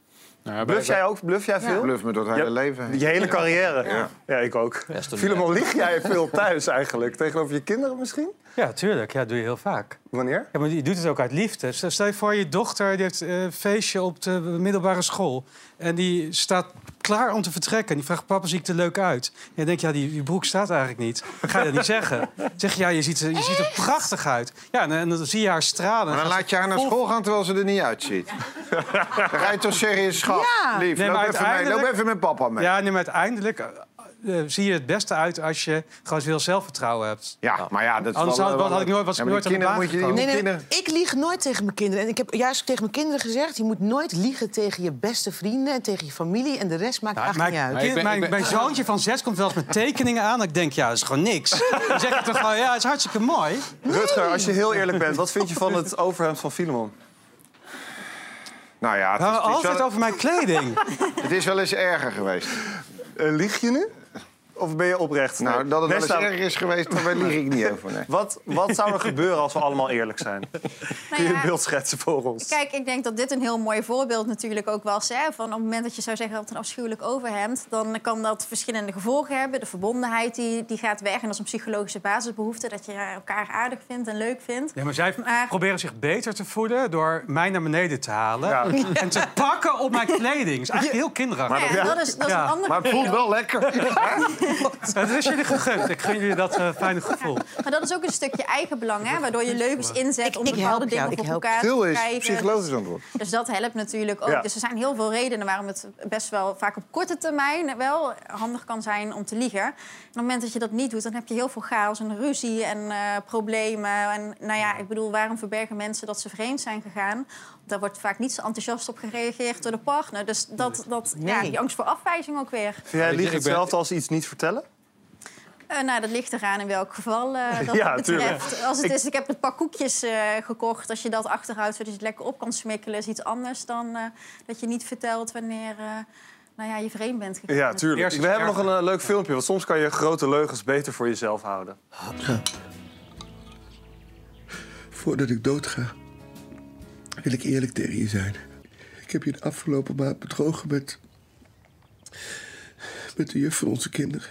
S1: Bluff jij ook? Bluff jij veel?
S3: Bluff me door het
S1: Ja,
S3: hele leven.
S1: Je hele carrière. Ja,
S3: Ja.
S1: ik ook. Filemon, lieg jij veel thuis eigenlijk? Tegenover je kinderen misschien?
S2: Ja, tuurlijk. Ja, dat doe je heel vaak.
S1: Wanneer?
S2: Ja, maar je doet het ook uit liefde. Stel stel je voor, je dochter die heeft eh, een feestje op de middelbare school. En die staat klaar om te vertrekken. En die vraagt, papa, zie ik er leuk uit? En je denkt, ja, die, die broek staat eigenlijk niet. Ga je dat niet zeggen? Zeg je, ja, je ziet, er- je ziet er prachtig uit. Ja, en, en dan zie je haar stralen.
S3: Maar dan laat je haar naar
S2: Vol-
S3: school gaan terwijl ze er niet uitziet. Dan ga je toch serieus schat,
S2: Ja.
S3: lief,
S2: Nee,
S3: loop,
S2: maar
S3: even mee, loop
S2: uiteindelijk-
S3: even met papa mee.
S2: Ja, nee, maar uiteindelijk eh, eh, zie je het beste uit als je gewoon veel zelfvertrouwen hebt.
S3: Ja, maar ja, dat is
S2: Anders
S3: wel- eh,
S2: had,
S3: wel-
S2: had ik nooit, was
S3: Ja,
S2: ik
S3: maar
S2: nooit
S3: die
S2: aan de baan
S3: kinderen moet je-
S2: gekomen.
S12: Nee, nee, ik lieg nooit tegen mijn kinderen. En ik heb juist tegen mijn kinderen gezegd... je moet nooit liegen tegen je beste vrienden en tegen je familie... en de rest maakt
S2: Nou,
S12: eigenlijk
S2: mijn,
S12: niet uit.
S2: kind- mijn, mijn zoontje van zes komt wel eens met tekeningen aan. Ik denk, ja, dat is gewoon niks. Dan zeg ik toch gewoon, ja, het is hartstikke mooi.
S1: Rutger, als je heel eerlijk bent, wat vind je van het overhemd van Filemon?
S3: Nou ja, het
S2: Waarom
S3: het
S2: altijd
S3: wel-
S2: over mijn kleding?
S3: Het is wel eens erger geweest.
S1: Eh, lieg je nu? Of ben je oprecht?
S3: Nou, dat het wel eens
S1: Nesta-
S3: erger is geweest, daar ben- lieg ik niet over. Nee.
S1: Wat, wat zou er gebeuren als we allemaal eerlijk zijn? Kun je een
S22: ja,
S1: beeld schetsen voor ons?
S22: Kijk, ik denk dat dit een heel mooi voorbeeld natuurlijk ook was. Hè? Van op het moment dat je zou zeggen dat een afschuwelijk overhemd... dan kan dat verschillende gevolgen hebben. De verbondenheid die, die gaat weg. En dat is een psychologische basisbehoefte. Dat je elkaar aardig vindt en leuk vindt.
S2: Ja, maar zij
S22: Maar-
S2: proberen zich beter te voeden door mij naar beneden te halen.
S22: Ja.
S2: En te pakken op mijn kleding. is eigenlijk heel kinderachtig.
S22: Maar dat- Ja, dat is- dat is een andere Maar het voelt wereld. wel
S2: lekker. Het is jullie gegund. Ik gun jullie dat eh, fijne gevoel.
S22: Maar dat is ook een stukje eigenbelang, hè? Waardoor je leugens inzet om
S12: ik help
S22: bepaalde
S12: jou,
S22: dingen
S12: ik
S22: voor
S12: help.
S22: elkaar te
S3: Veel
S22: krijgen.
S3: is psychologisch antwoord.
S22: Dus, dus dat helpt natuurlijk ook.
S3: Ja.
S22: Dus er zijn heel veel redenen waarom het best wel vaak op korte termijn wel handig kan zijn om te liegen. En op het moment dat je dat niet doet, dan heb je heel veel chaos en ruzie en eh, problemen. En nou ja, ik bedoel, waarom verbergen mensen dat ze vreemd zijn gegaan? Daar wordt vaak niet zo enthousiast op gereageerd door de partner. Dus dat, dat, ja,
S1: Nee.
S22: die angst voor afwijzing ook weer.
S1: Vind jij liegen
S22: liegen
S1: hetzelfde als iets niet vertellen?
S22: eh, nou, dat ligt eraan in welk geval eh dat
S1: Ja,
S22: het betreft.
S1: tuurlijk.
S22: Als het
S1: Ik-
S22: is, ik heb een paar koekjes eh, gekocht. Als je dat achterhoudt, zodat je het lekker op kan smikkelen, is iets anders dan eh, dat je niet vertelt wanneer eh, nou ja, je vreemd bent gegaan.
S1: Ja, tuurlijk. We hebben nog een eh, leuk filmpje, want soms kan je grote leugens beter voor jezelf houden.
S5: Voordat ik doodga, wil ik eerlijk tegen je zijn. Ik heb je de afgelopen maand bedrogen met. met de juf van onze kinderen.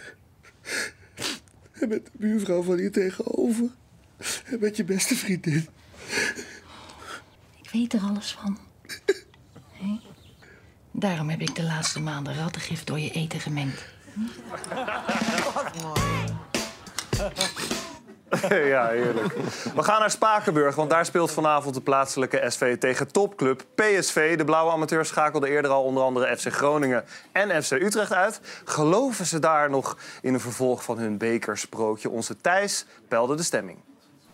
S5: En met de buurvrouw van hier tegenover. En met je beste vriendin.
S6: Ik weet er alles van. Hé? Daarom heb ik de laatste maanden rattengift door je eten gemengd.
S1: ja, heerlijk. We gaan naar Spakenburg, want daar speelt vanavond de plaatselijke SV tegen topclub PSV. De blauwe amateurs schakelden eerder al onder andere FC Groningen en FC Utrecht uit. Geloven ze daar nog in een vervolg van hun bekersprookje? Onze Thijs peilde de stemming.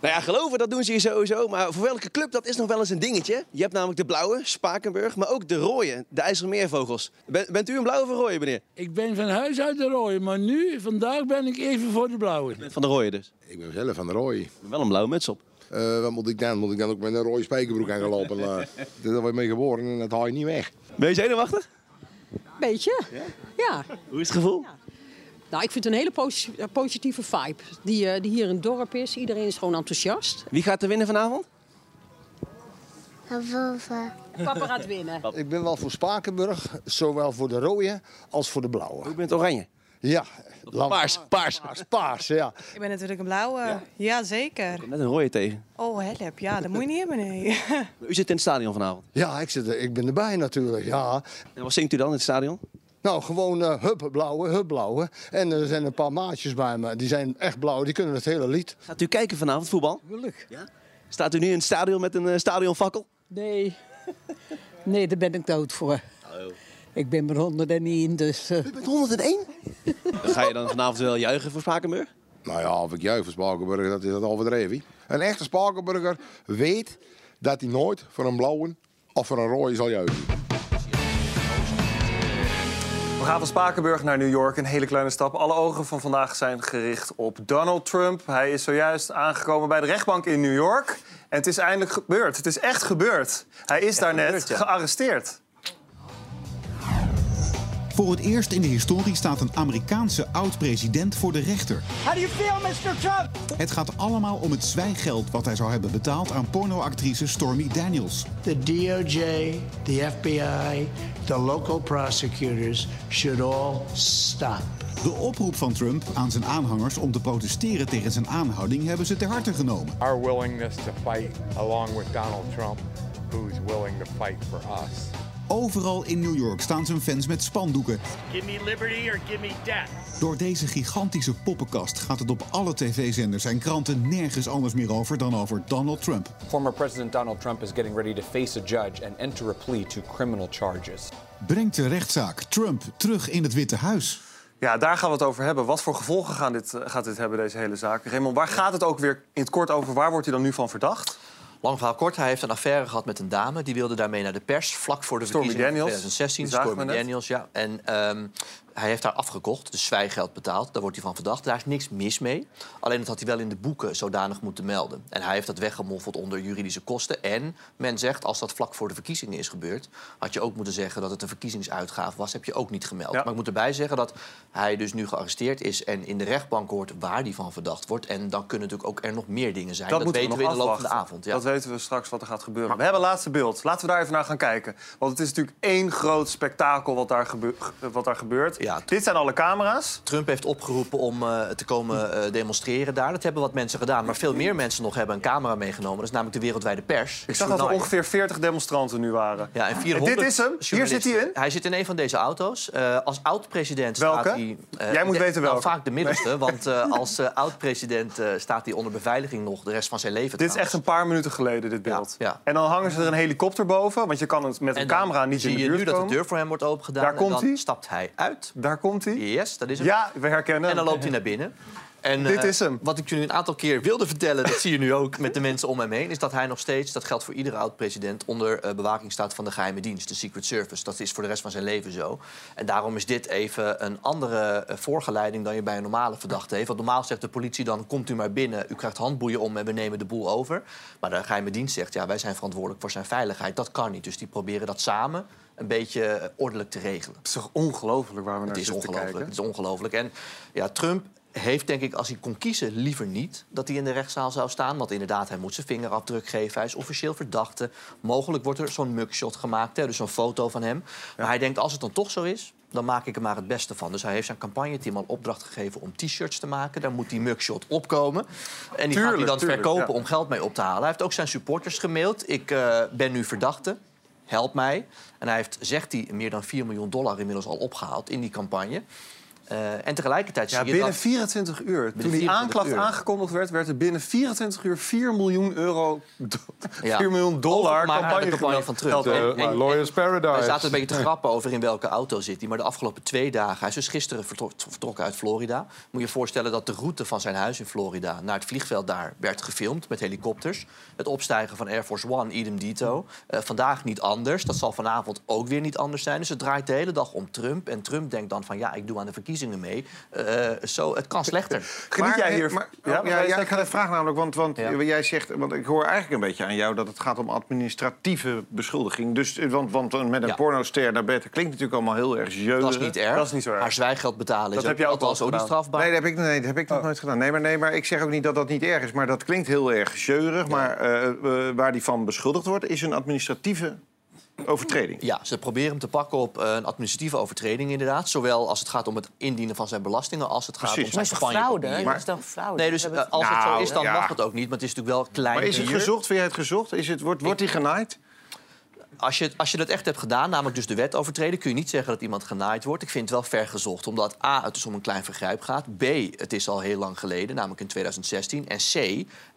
S23: Nou ja, geloven, dat doen ze hier sowieso. Maar voor welke club, dat is nog wel eens een dingetje. Je hebt namelijk de blauwe, Spakenburg, maar ook de rode, de IJsselmeervogels. Ben- bent u een blauwe of een rode, meneer?
S24: Ik ben van huis uit de rode, maar nu, vandaag ben ik even voor de blauwe.
S23: Van de rode dus.
S25: Ik ben zelf van de rooi.
S23: Wel een blauwe muts op.
S25: wat moet ik dan? Moet ik dan ook met een rode spijkerbroek aan gaan lopen? Eh, Daar word je mee geboren en dat haal je niet weg.
S23: Ben je zenuwachtig?
S26: Beetje. Ja.
S23: Hoe is het gevoel?
S26: Nou, ik vind het een hele posi- eh, positieve vibe die, eh, die hier in het dorp is. Iedereen is gewoon enthousiast.
S23: Wie gaat er winnen vanavond?
S26: Papa gaat winnen.
S25: Ik ben wel voor Spakenburg, zowel voor de rode als voor de blauwe.
S23: U bent oranje?
S25: Ja.
S23: Paars, paars.
S25: Paars, paars, ja.
S27: Ik ben natuurlijk een blauwe. Ja, zeker.
S23: Net een rode tegen.
S27: Oh, help. Ja, dat moet je niet hebben, nee.
S23: U zit in het stadion vanavond.
S25: Ja, ik, zit, er- ik ben erbij natuurlijk, ja.
S23: En wat zingt u dan in het stadion?
S25: Nou, gewoon eh hup blauwe, hup blauwe. En er zijn een paar maatjes bij me, die zijn echt blauw, die kunnen het hele lied.
S23: Gaat u kijken vanavond voetbal?
S26: Tuurlijk.
S23: Staat u nu in het stadion met een eh, stadionfakkel?
S26: Nee. Nee, daar ben ik dood voor. Ik ben maar 101, dus...
S23: Oh. U bent 101? Dan ga je dan vanavond wel juichen voor Spakenburg?
S25: Nou ja, of ik juich voor Spakenburger, dat is dat overdreven. Een echte Spakenburger weet dat hij nooit voor een blauwe of voor een rode zal juichen.
S1: We gaan van Spakenburg naar New York, een hele kleine stap. Alle ogen van vandaag zijn gericht op Donald Trump. Hij is zojuist aangekomen bij de rechtbank in New York. En het is eindelijk gebeurd. Het is echt gebeurd. Hij is daarnet gearresteerd.
S4: Voor het eerst in de historie staat een Amerikaanse oud-president voor de rechter.
S28: How do you feel, Mr. Trump?
S4: Het gaat allemaal om het zwijggeld wat hij zou hebben betaald aan pornoactrice Stormy Daniels.
S28: The DOJ, the FBI, the local prosecutors should all stop.
S4: De oproep van Trump aan zijn aanhangers om te protesteren tegen zijn aanhouding hebben ze ter harte genomen.
S13: Our willingness to fight along with Donald Trump, who's willing to fight for us.
S4: Overal in New York staan zijn fans met spandoeken.
S29: Give me liberty or give me death.
S4: Door deze gigantische poppenkast gaat het op alle tv-zenders en kranten nergens anders meer over dan over Donald Trump.
S30: Former President Donald Trump is getting ready to face a judge and enter a plea to criminal charges.
S4: Brengt de rechtszaak Trump terug in het Witte Huis.
S1: Ja, daar gaan we het over hebben. Wat voor gevolgen gaan dit, eh, gaat dit hebben, deze hele zaak? Raymond, waar gaat het ook weer in het kort over? Waar wordt hij dan nu van verdacht?
S16: Lang verhaal kort, hij heeft een affaire gehad met een dame. Die wilde daarmee naar de pers, vlak voor de
S1: Stormy
S16: verkiezingen van
S1: Daniels.
S16: 2016.
S1: Die zagen we
S16: Stormy
S1: net.
S16: Daniels, ja. En ehm, hij heeft haar afgekocht, dus zwijgeld betaald. Daar wordt hij van verdacht. Daar is niks mis mee. Alleen dat had hij wel in de boeken zodanig moeten melden. En hij heeft dat weggemoffeld onder juridische kosten. En men zegt, als dat vlak voor de verkiezingen is gebeurd... had je ook moeten zeggen dat het een verkiezingsuitgave was. Heb je ook niet gemeld. Maar ik moet erbij zeggen dat hij dus nu gearresteerd is... en in de rechtbank hoort waar hij van verdacht wordt. En dan kunnen natuurlijk ook er nog meer dingen zijn.
S1: Dat, moeten
S16: weten
S1: we,
S16: in
S1: nog
S16: de loop van de
S1: afwachten.
S16: avond. Ja.
S1: Dat weten we straks wat er gaat gebeuren. we hebben een laatste beeld. Laten we daar even naar gaan kijken. Want het is natuurlijk één groot spektakel wat daar, gebe- ge- eh, wat daar gebeurt. Dit zijn alle camera's.
S16: Trump heeft opgeroepen om eh, te komen eh, demonstreren daar. Dat hebben wat mensen gedaan. Maar veel meer mensen nog hebben een camera meegenomen. Dat is namelijk de wereldwijde pers.
S1: Ik zag dat er ongeveer 40 demonstranten nu waren.
S16: Ja, en
S1: En
S16: 400
S1: dit is hem. Hier
S16: journalisten.
S1: zit hij in.
S16: Hij zit in een van deze auto's. Eh, als oud-president staat
S1: Welke?
S16: hij... eh,
S1: Jij moet
S16: de-
S1: weten
S16: nou,
S1: welke.
S16: vaak de middelste. Want eh, als eh, oud-president eh, staat hij onder beveiliging nog de rest van zijn leven.
S1: Dit is echt een paar minuten geleden, dit beeld.
S16: ja.
S1: En dan hangen ze er een helikopter boven, want je kan het met een
S16: dan
S1: camera niet
S16: zie
S1: in de
S16: je
S1: buurt
S16: nu dat de
S1: komen.
S16: deur voor hem wordt opengedaan.
S1: Daar
S16: en
S1: komt
S16: dan
S1: hij.
S16: stapt hij uit.
S1: Daar komt hij.
S16: Yes, dat is hem.
S1: Ja, we herkennen hem.
S16: En dan loopt hij naar binnen. En,
S1: Dit
S16: eh,
S1: is hem.
S16: Wat ik jullie een aantal keer wilde vertellen, dat zie je nu ook met de mensen om hem heen, is dat hij nog steeds, dat geldt voor iedere oud-president, onder eh, bewaking staat van de geheime dienst, de Secret Service. Dat is voor de rest van zijn leven zo. En daarom is dit even een andere eh, voorgeleiding dan je bij een normale verdachte heeft. Want normaal zegt de politie dan, komt u maar binnen, u krijgt handboeien om en we nemen de boel over. Maar de geheime dienst zegt, ja, wij zijn verantwoordelijk voor zijn veiligheid. Dat kan niet. Dus die proberen dat samen een beetje eh, ordelijk te regelen.
S1: Het is toch ongelooflijk waar we naar
S16: Het is
S1: zitten te
S16: ongelooflijk.
S1: kijken?
S16: Het is ongelooflijk. En ja, Trump heeft denk ik, als hij kon kiezen, liever niet dat hij in de rechtszaal zou staan. Want inderdaad, hij moet zijn vingerafdruk geven. Hij is officieel verdachte. Mogelijk wordt er zo'n mugshot gemaakt, hè, dus zo'n foto van hem. Maar hij denkt, als het dan toch zo is, dan maak ik er maar het beste van. Dus hij heeft zijn campagneteam al opdracht gegeven om t-shirts te maken. Daar moet die mugshot opkomen. En die gaat hij
S1: Tuurlijk,
S16: dan
S1: tuurlijk,
S16: verkopen
S1: ja.
S16: om geld mee op te halen. Hij heeft ook zijn supporters gemaild. Ik eh, ben nu verdachte. Help mij. En hij heeft, zegt hij, meer dan 4 miljoen dollar inmiddels al opgehaald in die campagne. Eh, en tegelijkertijd
S1: Ja,
S16: zie je
S1: binnen
S16: dat...
S1: 24 uur. Toen die
S16: 24
S1: aanklacht
S16: uur.
S1: aangekondigd werd, werd er binnen 24 uur 4 miljoen euro, do- 4 miljoen dollar
S16: Overgemaakt naar
S1: campagne,
S16: de campagne
S1: geld-
S16: van Trump.
S1: geld over-
S16: Lawyers Paradise. Hij zaten een beetje te grappen over in welke auto zit hij. Maar de afgelopen twee dagen, hij is dus gisteren vertrok- vertrokken uit Florida. Moet je je voorstellen dat de route van zijn huis in Florida naar het vliegveld daar werd gefilmd met helikopters. Het opstijgen van Air Force One, idem dito. Eh, vandaag niet anders. Dat zal vanavond ook weer niet anders zijn. Dus het draait de hele dag om Trump. En Trump denkt dan van ja, ik doe aan de verkiezingen mee. Eh, zo, het kan slechter.
S3: Maar- maar- oh, ja, ja, ik had een vraag namelijk, want, want jij zegt, want ik hoor eigenlijk een beetje aan jou dat het gaat om administratieve beschuldiging. Dus, eh, want, want met een pornoster naar bed, dat klinkt natuurlijk allemaal heel erg jeurig.
S16: Dat is niet erg. Haar zwijggeld betalen is ook- althans ook niet strafbaar.
S3: Nee, dat heb ik, nee, dat heb ik
S16: Oh.
S3: nog nooit gedaan. Nee maar, nee, maar ik zeg ook niet dat dat niet erg is. Maar dat klinkt heel erg jeurig. Maar eh, eh, waar die van beschuldigd wordt, is een administratieve overtreding.
S16: Ja, ze proberen hem te pakken op eh, een administratieve overtreding inderdaad. Zowel als het gaat om het indienen van zijn belastingen... als het gaat
S3: Precies.
S16: om zijn
S3: Maar is toch fraude?
S16: campagnepapieren.
S3: Dat is
S12: toch fraude?
S16: Nee, dus
S3: We hebben
S16: eh, als het zo
S3: Nou,
S16: is, dan
S3: ja.
S16: mag het ook niet. Maar het is natuurlijk wel klein.
S3: Maar is het
S16: hier.
S3: gezocht? Vind jij het gezocht? Is het, wordt, wordt die genaaid?
S16: Als je, als je dat echt hebt gedaan, namelijk dus de wet overtreden... kun je niet zeggen dat iemand genaaid wordt. Ik vind het wel ver gezocht, omdat A, het dus om een klein vergrijp gaat. B, het is al heel lang geleden, namelijk in 2016. En C,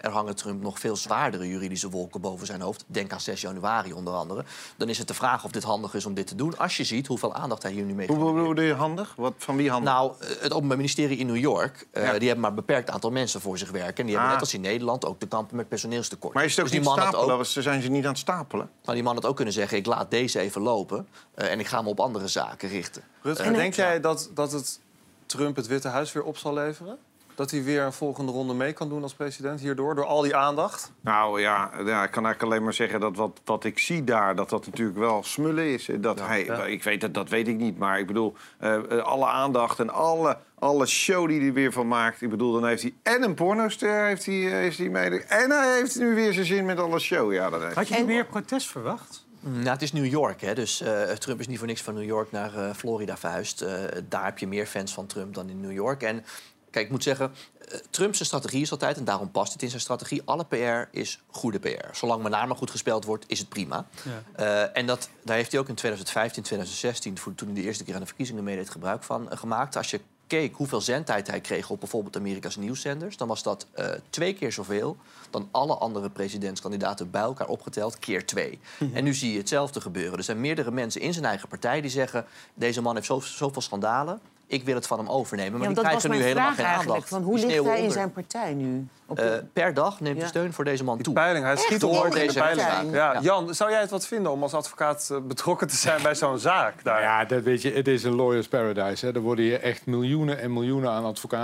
S16: er hangen Trump nog veel zwaardere juridische wolken boven zijn hoofd. Denk aan 6 januari onder andere. Dan is het de vraag of dit handig is om dit te doen. Als je ziet hoeveel aandacht hij hier nu mee
S3: Hoe hoe bedoel je handig? Wat, van wie handig?
S16: Nou, het Openbaar Ministerie in New York... eh, die hebben maar een beperkt aantal mensen voor zich werken. En die hebben
S3: Ah.
S16: net als in Nederland ook te kampen met personeelstekort.
S3: Maar is het ook
S16: Dus die
S3: niet
S16: man had
S3: stapelen?
S16: ook-
S3: Want Ze zijn ze niet aan het stapelen.
S16: maar die man had ook kunnen zeggen: ik laat deze even lopen eh, en ik ga me op andere zaken richten.
S1: Rutger,
S16: Eh,
S1: denk jij dat, dat het Trump het Witte Huis weer op zal leveren? Dat hij weer een volgende ronde mee kan doen als president hierdoor, door al die aandacht?
S3: Nou ja, ja, ik kan eigenlijk alleen maar zeggen dat wat, wat ik zie daar, dat dat natuurlijk wel smullen is. eh, Dat hij,
S1: ja.
S3: Ik weet dat, dat weet ik niet, maar ik bedoel, eh, eh, alle aandacht en alle, alle show die hij weer van maakt. Ik bedoel, dan heeft hij en een pornoster heeft hij, eh, heeft hij mee. En hij heeft nu weer zijn zin met alle show. Ja, dat heeft
S2: Had je
S3: hij.
S2: er meer protest verwacht?
S16: Nou, het is New York, hè, dus eh, Trump is niet voor niks van New York naar eh, Florida vuist. Eh, daar heb je meer fans van Trump dan in New York. En kijk, ik moet zeggen, eh, Trumps strategie is altijd, en daarom past het in zijn strategie... alle PR is goede PR. Zolang mijn naam maar goed gespeeld wordt, is het prima. Eh, en dat, daar heeft hij ook in 2015, 2016, voor- toen hij de eerste keer aan de verkiezingen meedeed, gebruik van eh, gemaakt. Als je keek hoeveel zendtijd hij kreeg op bijvoorbeeld Amerika's nieuwszenders, dan was dat eh, twee keer zoveel dan alle andere presidentskandidaten bij elkaar opgeteld, keer twee.
S1: Mhm.
S16: En nu zie je hetzelfde gebeuren. Er zijn meerdere mensen in zijn eigen partij die zeggen: deze man heeft zo- zoveel schandalen. ik wil het van hem overnemen.
S12: want
S16: Maar
S12: dat
S16: die krijgt
S12: was
S16: er nu
S12: mijn
S16: helemaal
S12: vraag
S16: geen
S12: eigenlijk.
S16: aandacht.
S12: Van
S16: Die
S12: hoe ligt
S16: sneeuwen
S12: hij in
S16: onder.
S12: zijn partij nu? Op
S16: Eh,
S12: de-
S16: per dag neemt de
S12: Ja.
S16: steun voor deze man toe.
S1: Peiling, hij schiet
S16: Door
S1: omhoog in de
S16: deze
S1: peiling.
S16: rechtszaak.
S1: Ja, Jan, zou jij het wat vinden om als advocaat eh, betrokken te zijn bij zo'n zaak? Daar?
S13: Ja, dat weet je, het is een lawyer's paradise. Hè. Er worden hier echt miljoenen en miljoenen aan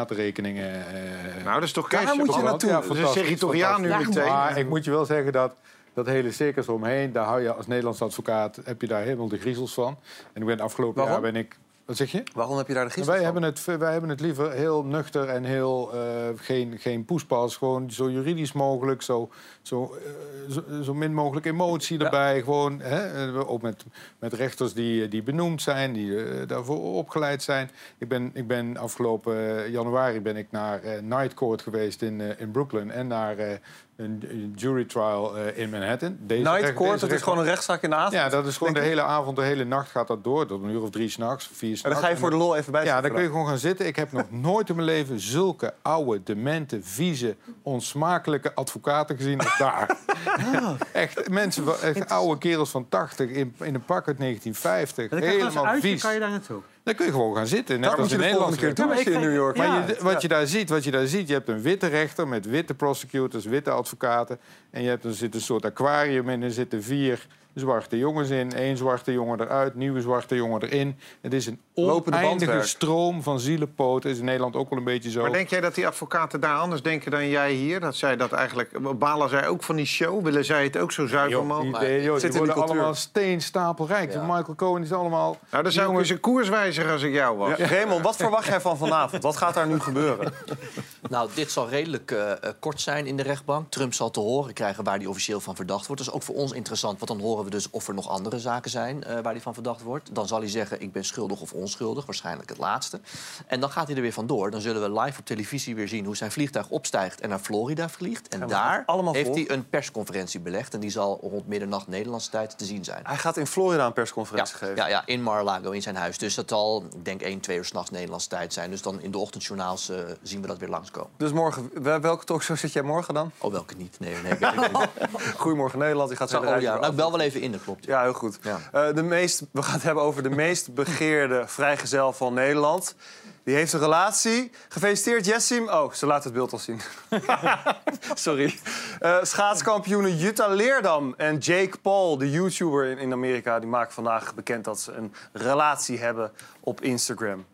S13: advocatenrekeningen. eh,
S3: Nou, dat is toch
S13: Daar
S3: cash.
S13: moet je naartoe.
S3: Ja,
S13: Dat is
S3: fantastisch,
S13: territoriaal nu
S3: fantastisch.
S13: meteen. Maar ik moet je wel zeggen dat dat hele circus omheen, daar hou je als Nederlands advocaat heb je daar helemaal de griezels van. En ik ben afgelopen
S1: Waarom?
S13: jaar ben ik. Wat zeg je?
S1: Waarom heb je daar de
S13: Nou,
S1: gidsels
S13: Wij hebben,
S1: van?
S13: het, wij hebben het liever heel nuchter en heel eh, geen, geen poespas. Gewoon zo juridisch mogelijk, zo, zo, eh, zo, zo min mogelijk emotie erbij. Gewoon, hè, eh, ook met, met rechters die, die benoemd zijn, die eh, daarvoor opgeleid zijn. Ik ben, ik ben afgelopen eh, januari ben ik naar eh, Night Court geweest in, eh, in Brooklyn en naar eh, een een jury trial eh, in Manhattan. Deze
S1: Night
S13: recht-
S1: Court,
S13: deze
S1: dat is
S13: rechter-
S1: gewoon een rechtszaak in de avond.
S13: ja, dat is gewoon de
S1: denk ik.
S13: hele avond, de hele nacht gaat dat door. Tot een uur of drie s'nachts, vier s'nachts.
S1: En dan ga je voor de lol even bij
S13: Ja,
S1: zitten
S13: dan kun je gewoon gaan zitten. Ik heb nog nooit in mijn leven zulke oude, demente, vieze, onsmakelijke advocaten gezien als daar.
S1: Ah.
S13: Echt, mensen, van- echt oude kerels van 80 in, in een pak uit 1950.
S2: Dan krijg je als
S13: helemaal
S2: uitje
S13: vies.
S2: kan je daar naartoe.
S13: Dan kun je gewoon gaan zitten. Net
S1: Dat
S13: als
S1: moet je
S13: in
S1: de
S13: Nederland.
S1: volgende keer doen als je in New York
S13: Maar
S1: bent.
S13: je,
S1: Ja.
S13: wat, je daar ziet, wat je daar ziet, je hebt een witte rechter met witte prosecutors, witte advocaten. En je hebt, er zit een soort aquarium in. Er zitten vier zwarte jongens in. één zwarte jongen eruit, nieuwe zwarte jongen erin. Het is een
S1: Lopende
S13: oneindige
S1: bandwerk.
S13: stroom van zielenpoten. Is in Nederland ook wel een beetje zo.
S3: Maar denk jij dat die advocaten daar anders denken dan jij hier? Dat zij dat eigenlijk... Balen zij ook van die show? Willen zij het ook zo zuiver
S13: die,
S3: mogelijk?
S13: die- joh, die
S1: Zit in de
S13: worden
S1: cultuur.
S13: allemaal steenstapelrijk.
S1: Ja.
S13: Michael Cohen is allemaal...
S3: Nou, dan
S13: die
S3: zou ik
S13: jongens-
S3: eens een koers wijzigen als ik jou was.
S1: Ja. Raymond, wat verwacht jij van vanavond? Wat gaat daar nu gebeuren?
S16: Nou, dit zal redelijk eh, eh, kort zijn in de rechtbank. Trump zal te horen krijgen waar hij officieel van verdacht wordt. Dat is ook voor ons interessant, want dan horen we dus of er nog andere zaken zijn eh, waar hij van verdacht wordt. Dan zal hij zeggen: Ik ben schuldig of onschuldig, waarschijnlijk het laatste. En dan gaat hij er weer vandoor. Dan zullen we live op televisie weer zien hoe zijn vliegtuig opstijgt en naar Florida vliegt. En
S1: we gaan
S16: daar
S1: het allemaal
S16: heeft
S1: volgen.
S16: hij een persconferentie belegd. En die zal rond middernacht Nederlandse tijd te zien zijn.
S1: Hij gaat in Florida een persconferentie
S16: Ja,
S1: geven.
S16: ja, ja, in Mar-a-Lago, in zijn huis. Dus dat zal, ik denk, 1, 2 uur s'nachts Nederlandse tijd zijn. Dus dan in de ochtendjournaals eh, zien we dat weer langskomen.
S1: Dus morgen, wel- welke talkshow zit jij morgen dan?
S16: Oh, welke niet? Nee, nee. weet ik niet.
S1: Oh, Goedemorgen Nederland, die gaat zo
S16: Zou-
S1: de
S16: oh,
S1: rij
S16: ja.
S1: door
S16: Nou, ik bel wel even in, dat klopt.
S1: Ja, heel goed. Eh, de meest, we gaan het hebben over de meest begeerde vrijgezel van Nederland. Die heeft een relatie. Gefeliciteerd, Jessim. Oh, ze laat het beeld al zien. Sorry. Eh schaatskampioenen Jutta Leerdam en Jake Paul, de YouTuber in, in Amerika... die maken vandaag bekend dat ze een relatie hebben op Instagram.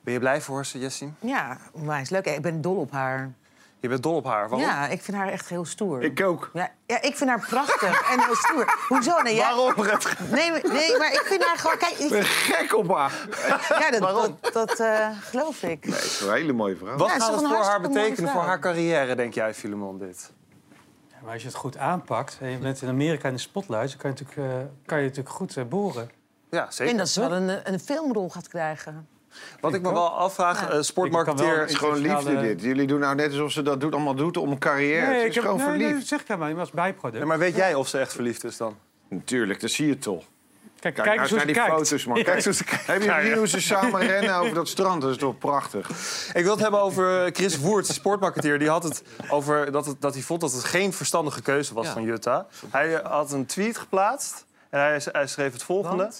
S1: Ben je blij voor ze, Jessim?
S12: Ja, onwijs leuk. Ik ben dol op haar.
S1: Je bent dol op haar. Waarom?
S12: Ja, ik vind haar echt heel stoer.
S3: Ik ook.
S12: Ja, ja, ik vind haar prachtig en heel stoer. Hoezo? Nee, jij-
S3: Waarom, Rutger?
S12: Nee, maar- nee, maar ik vind haar gewoon... Kijk, ik-
S3: Ik ben gek op haar.
S12: ja, dat, dat, dat, eh, geloof ik.
S3: Nee, dat is een hele mooie vraag.
S1: Wat
S12: Ja, het is
S1: gaat
S12: toch
S1: het
S12: een
S1: voor haar
S12: hartstikke mooie
S1: betekenen, voor
S12: vrouw.
S1: haar carrière, denk jij, Filemon, dit?
S2: Ja, maar als je het goed aanpakt en je bent in Amerika in de spotlight... dan kan je natuurlijk, eh, kan je natuurlijk goed eh, boren.
S1: Ja,
S12: Ik
S1: zeker.
S12: vind dat ze wel een, een filmrol gaat krijgen.
S1: Wat ik me wel afvraag, eh,
S2: Ik kan wel
S1: sportmarketeer...
S3: Het is gewoon liefde dit. Jullie doen nou net alsof ze dat doet, allemaal doet om een carrière. het is
S2: heb-
S3: gewoon
S2: nee, nee,
S3: verliefd.
S2: dat zeg ik helemaal niet, maar als bijproduct.
S1: Ja, maar weet jij of ze echt verliefd is dan?
S3: Natuurlijk, dat zie je toch.
S2: Kijk,
S3: Kijk,
S2: kijk,
S3: nou
S2: eens hoe
S3: naar
S2: ze
S3: die
S2: kijkt.
S3: foto's, man. Kijk
S1: Kijk,
S3: eens
S1: zo ze kijkt.
S3: Heb je gezien hoe ze samen rennen over dat strand? Dat is toch prachtig?
S1: Ik wil het hebben over Chris Woerts, de sportmarketeer. Die had het over dat, het, dat hij vond dat het geen verstandige keuze was
S16: Ja.
S1: van Jutta. Hij eh, had een tweet geplaatst en hij, hij schreef het volgende.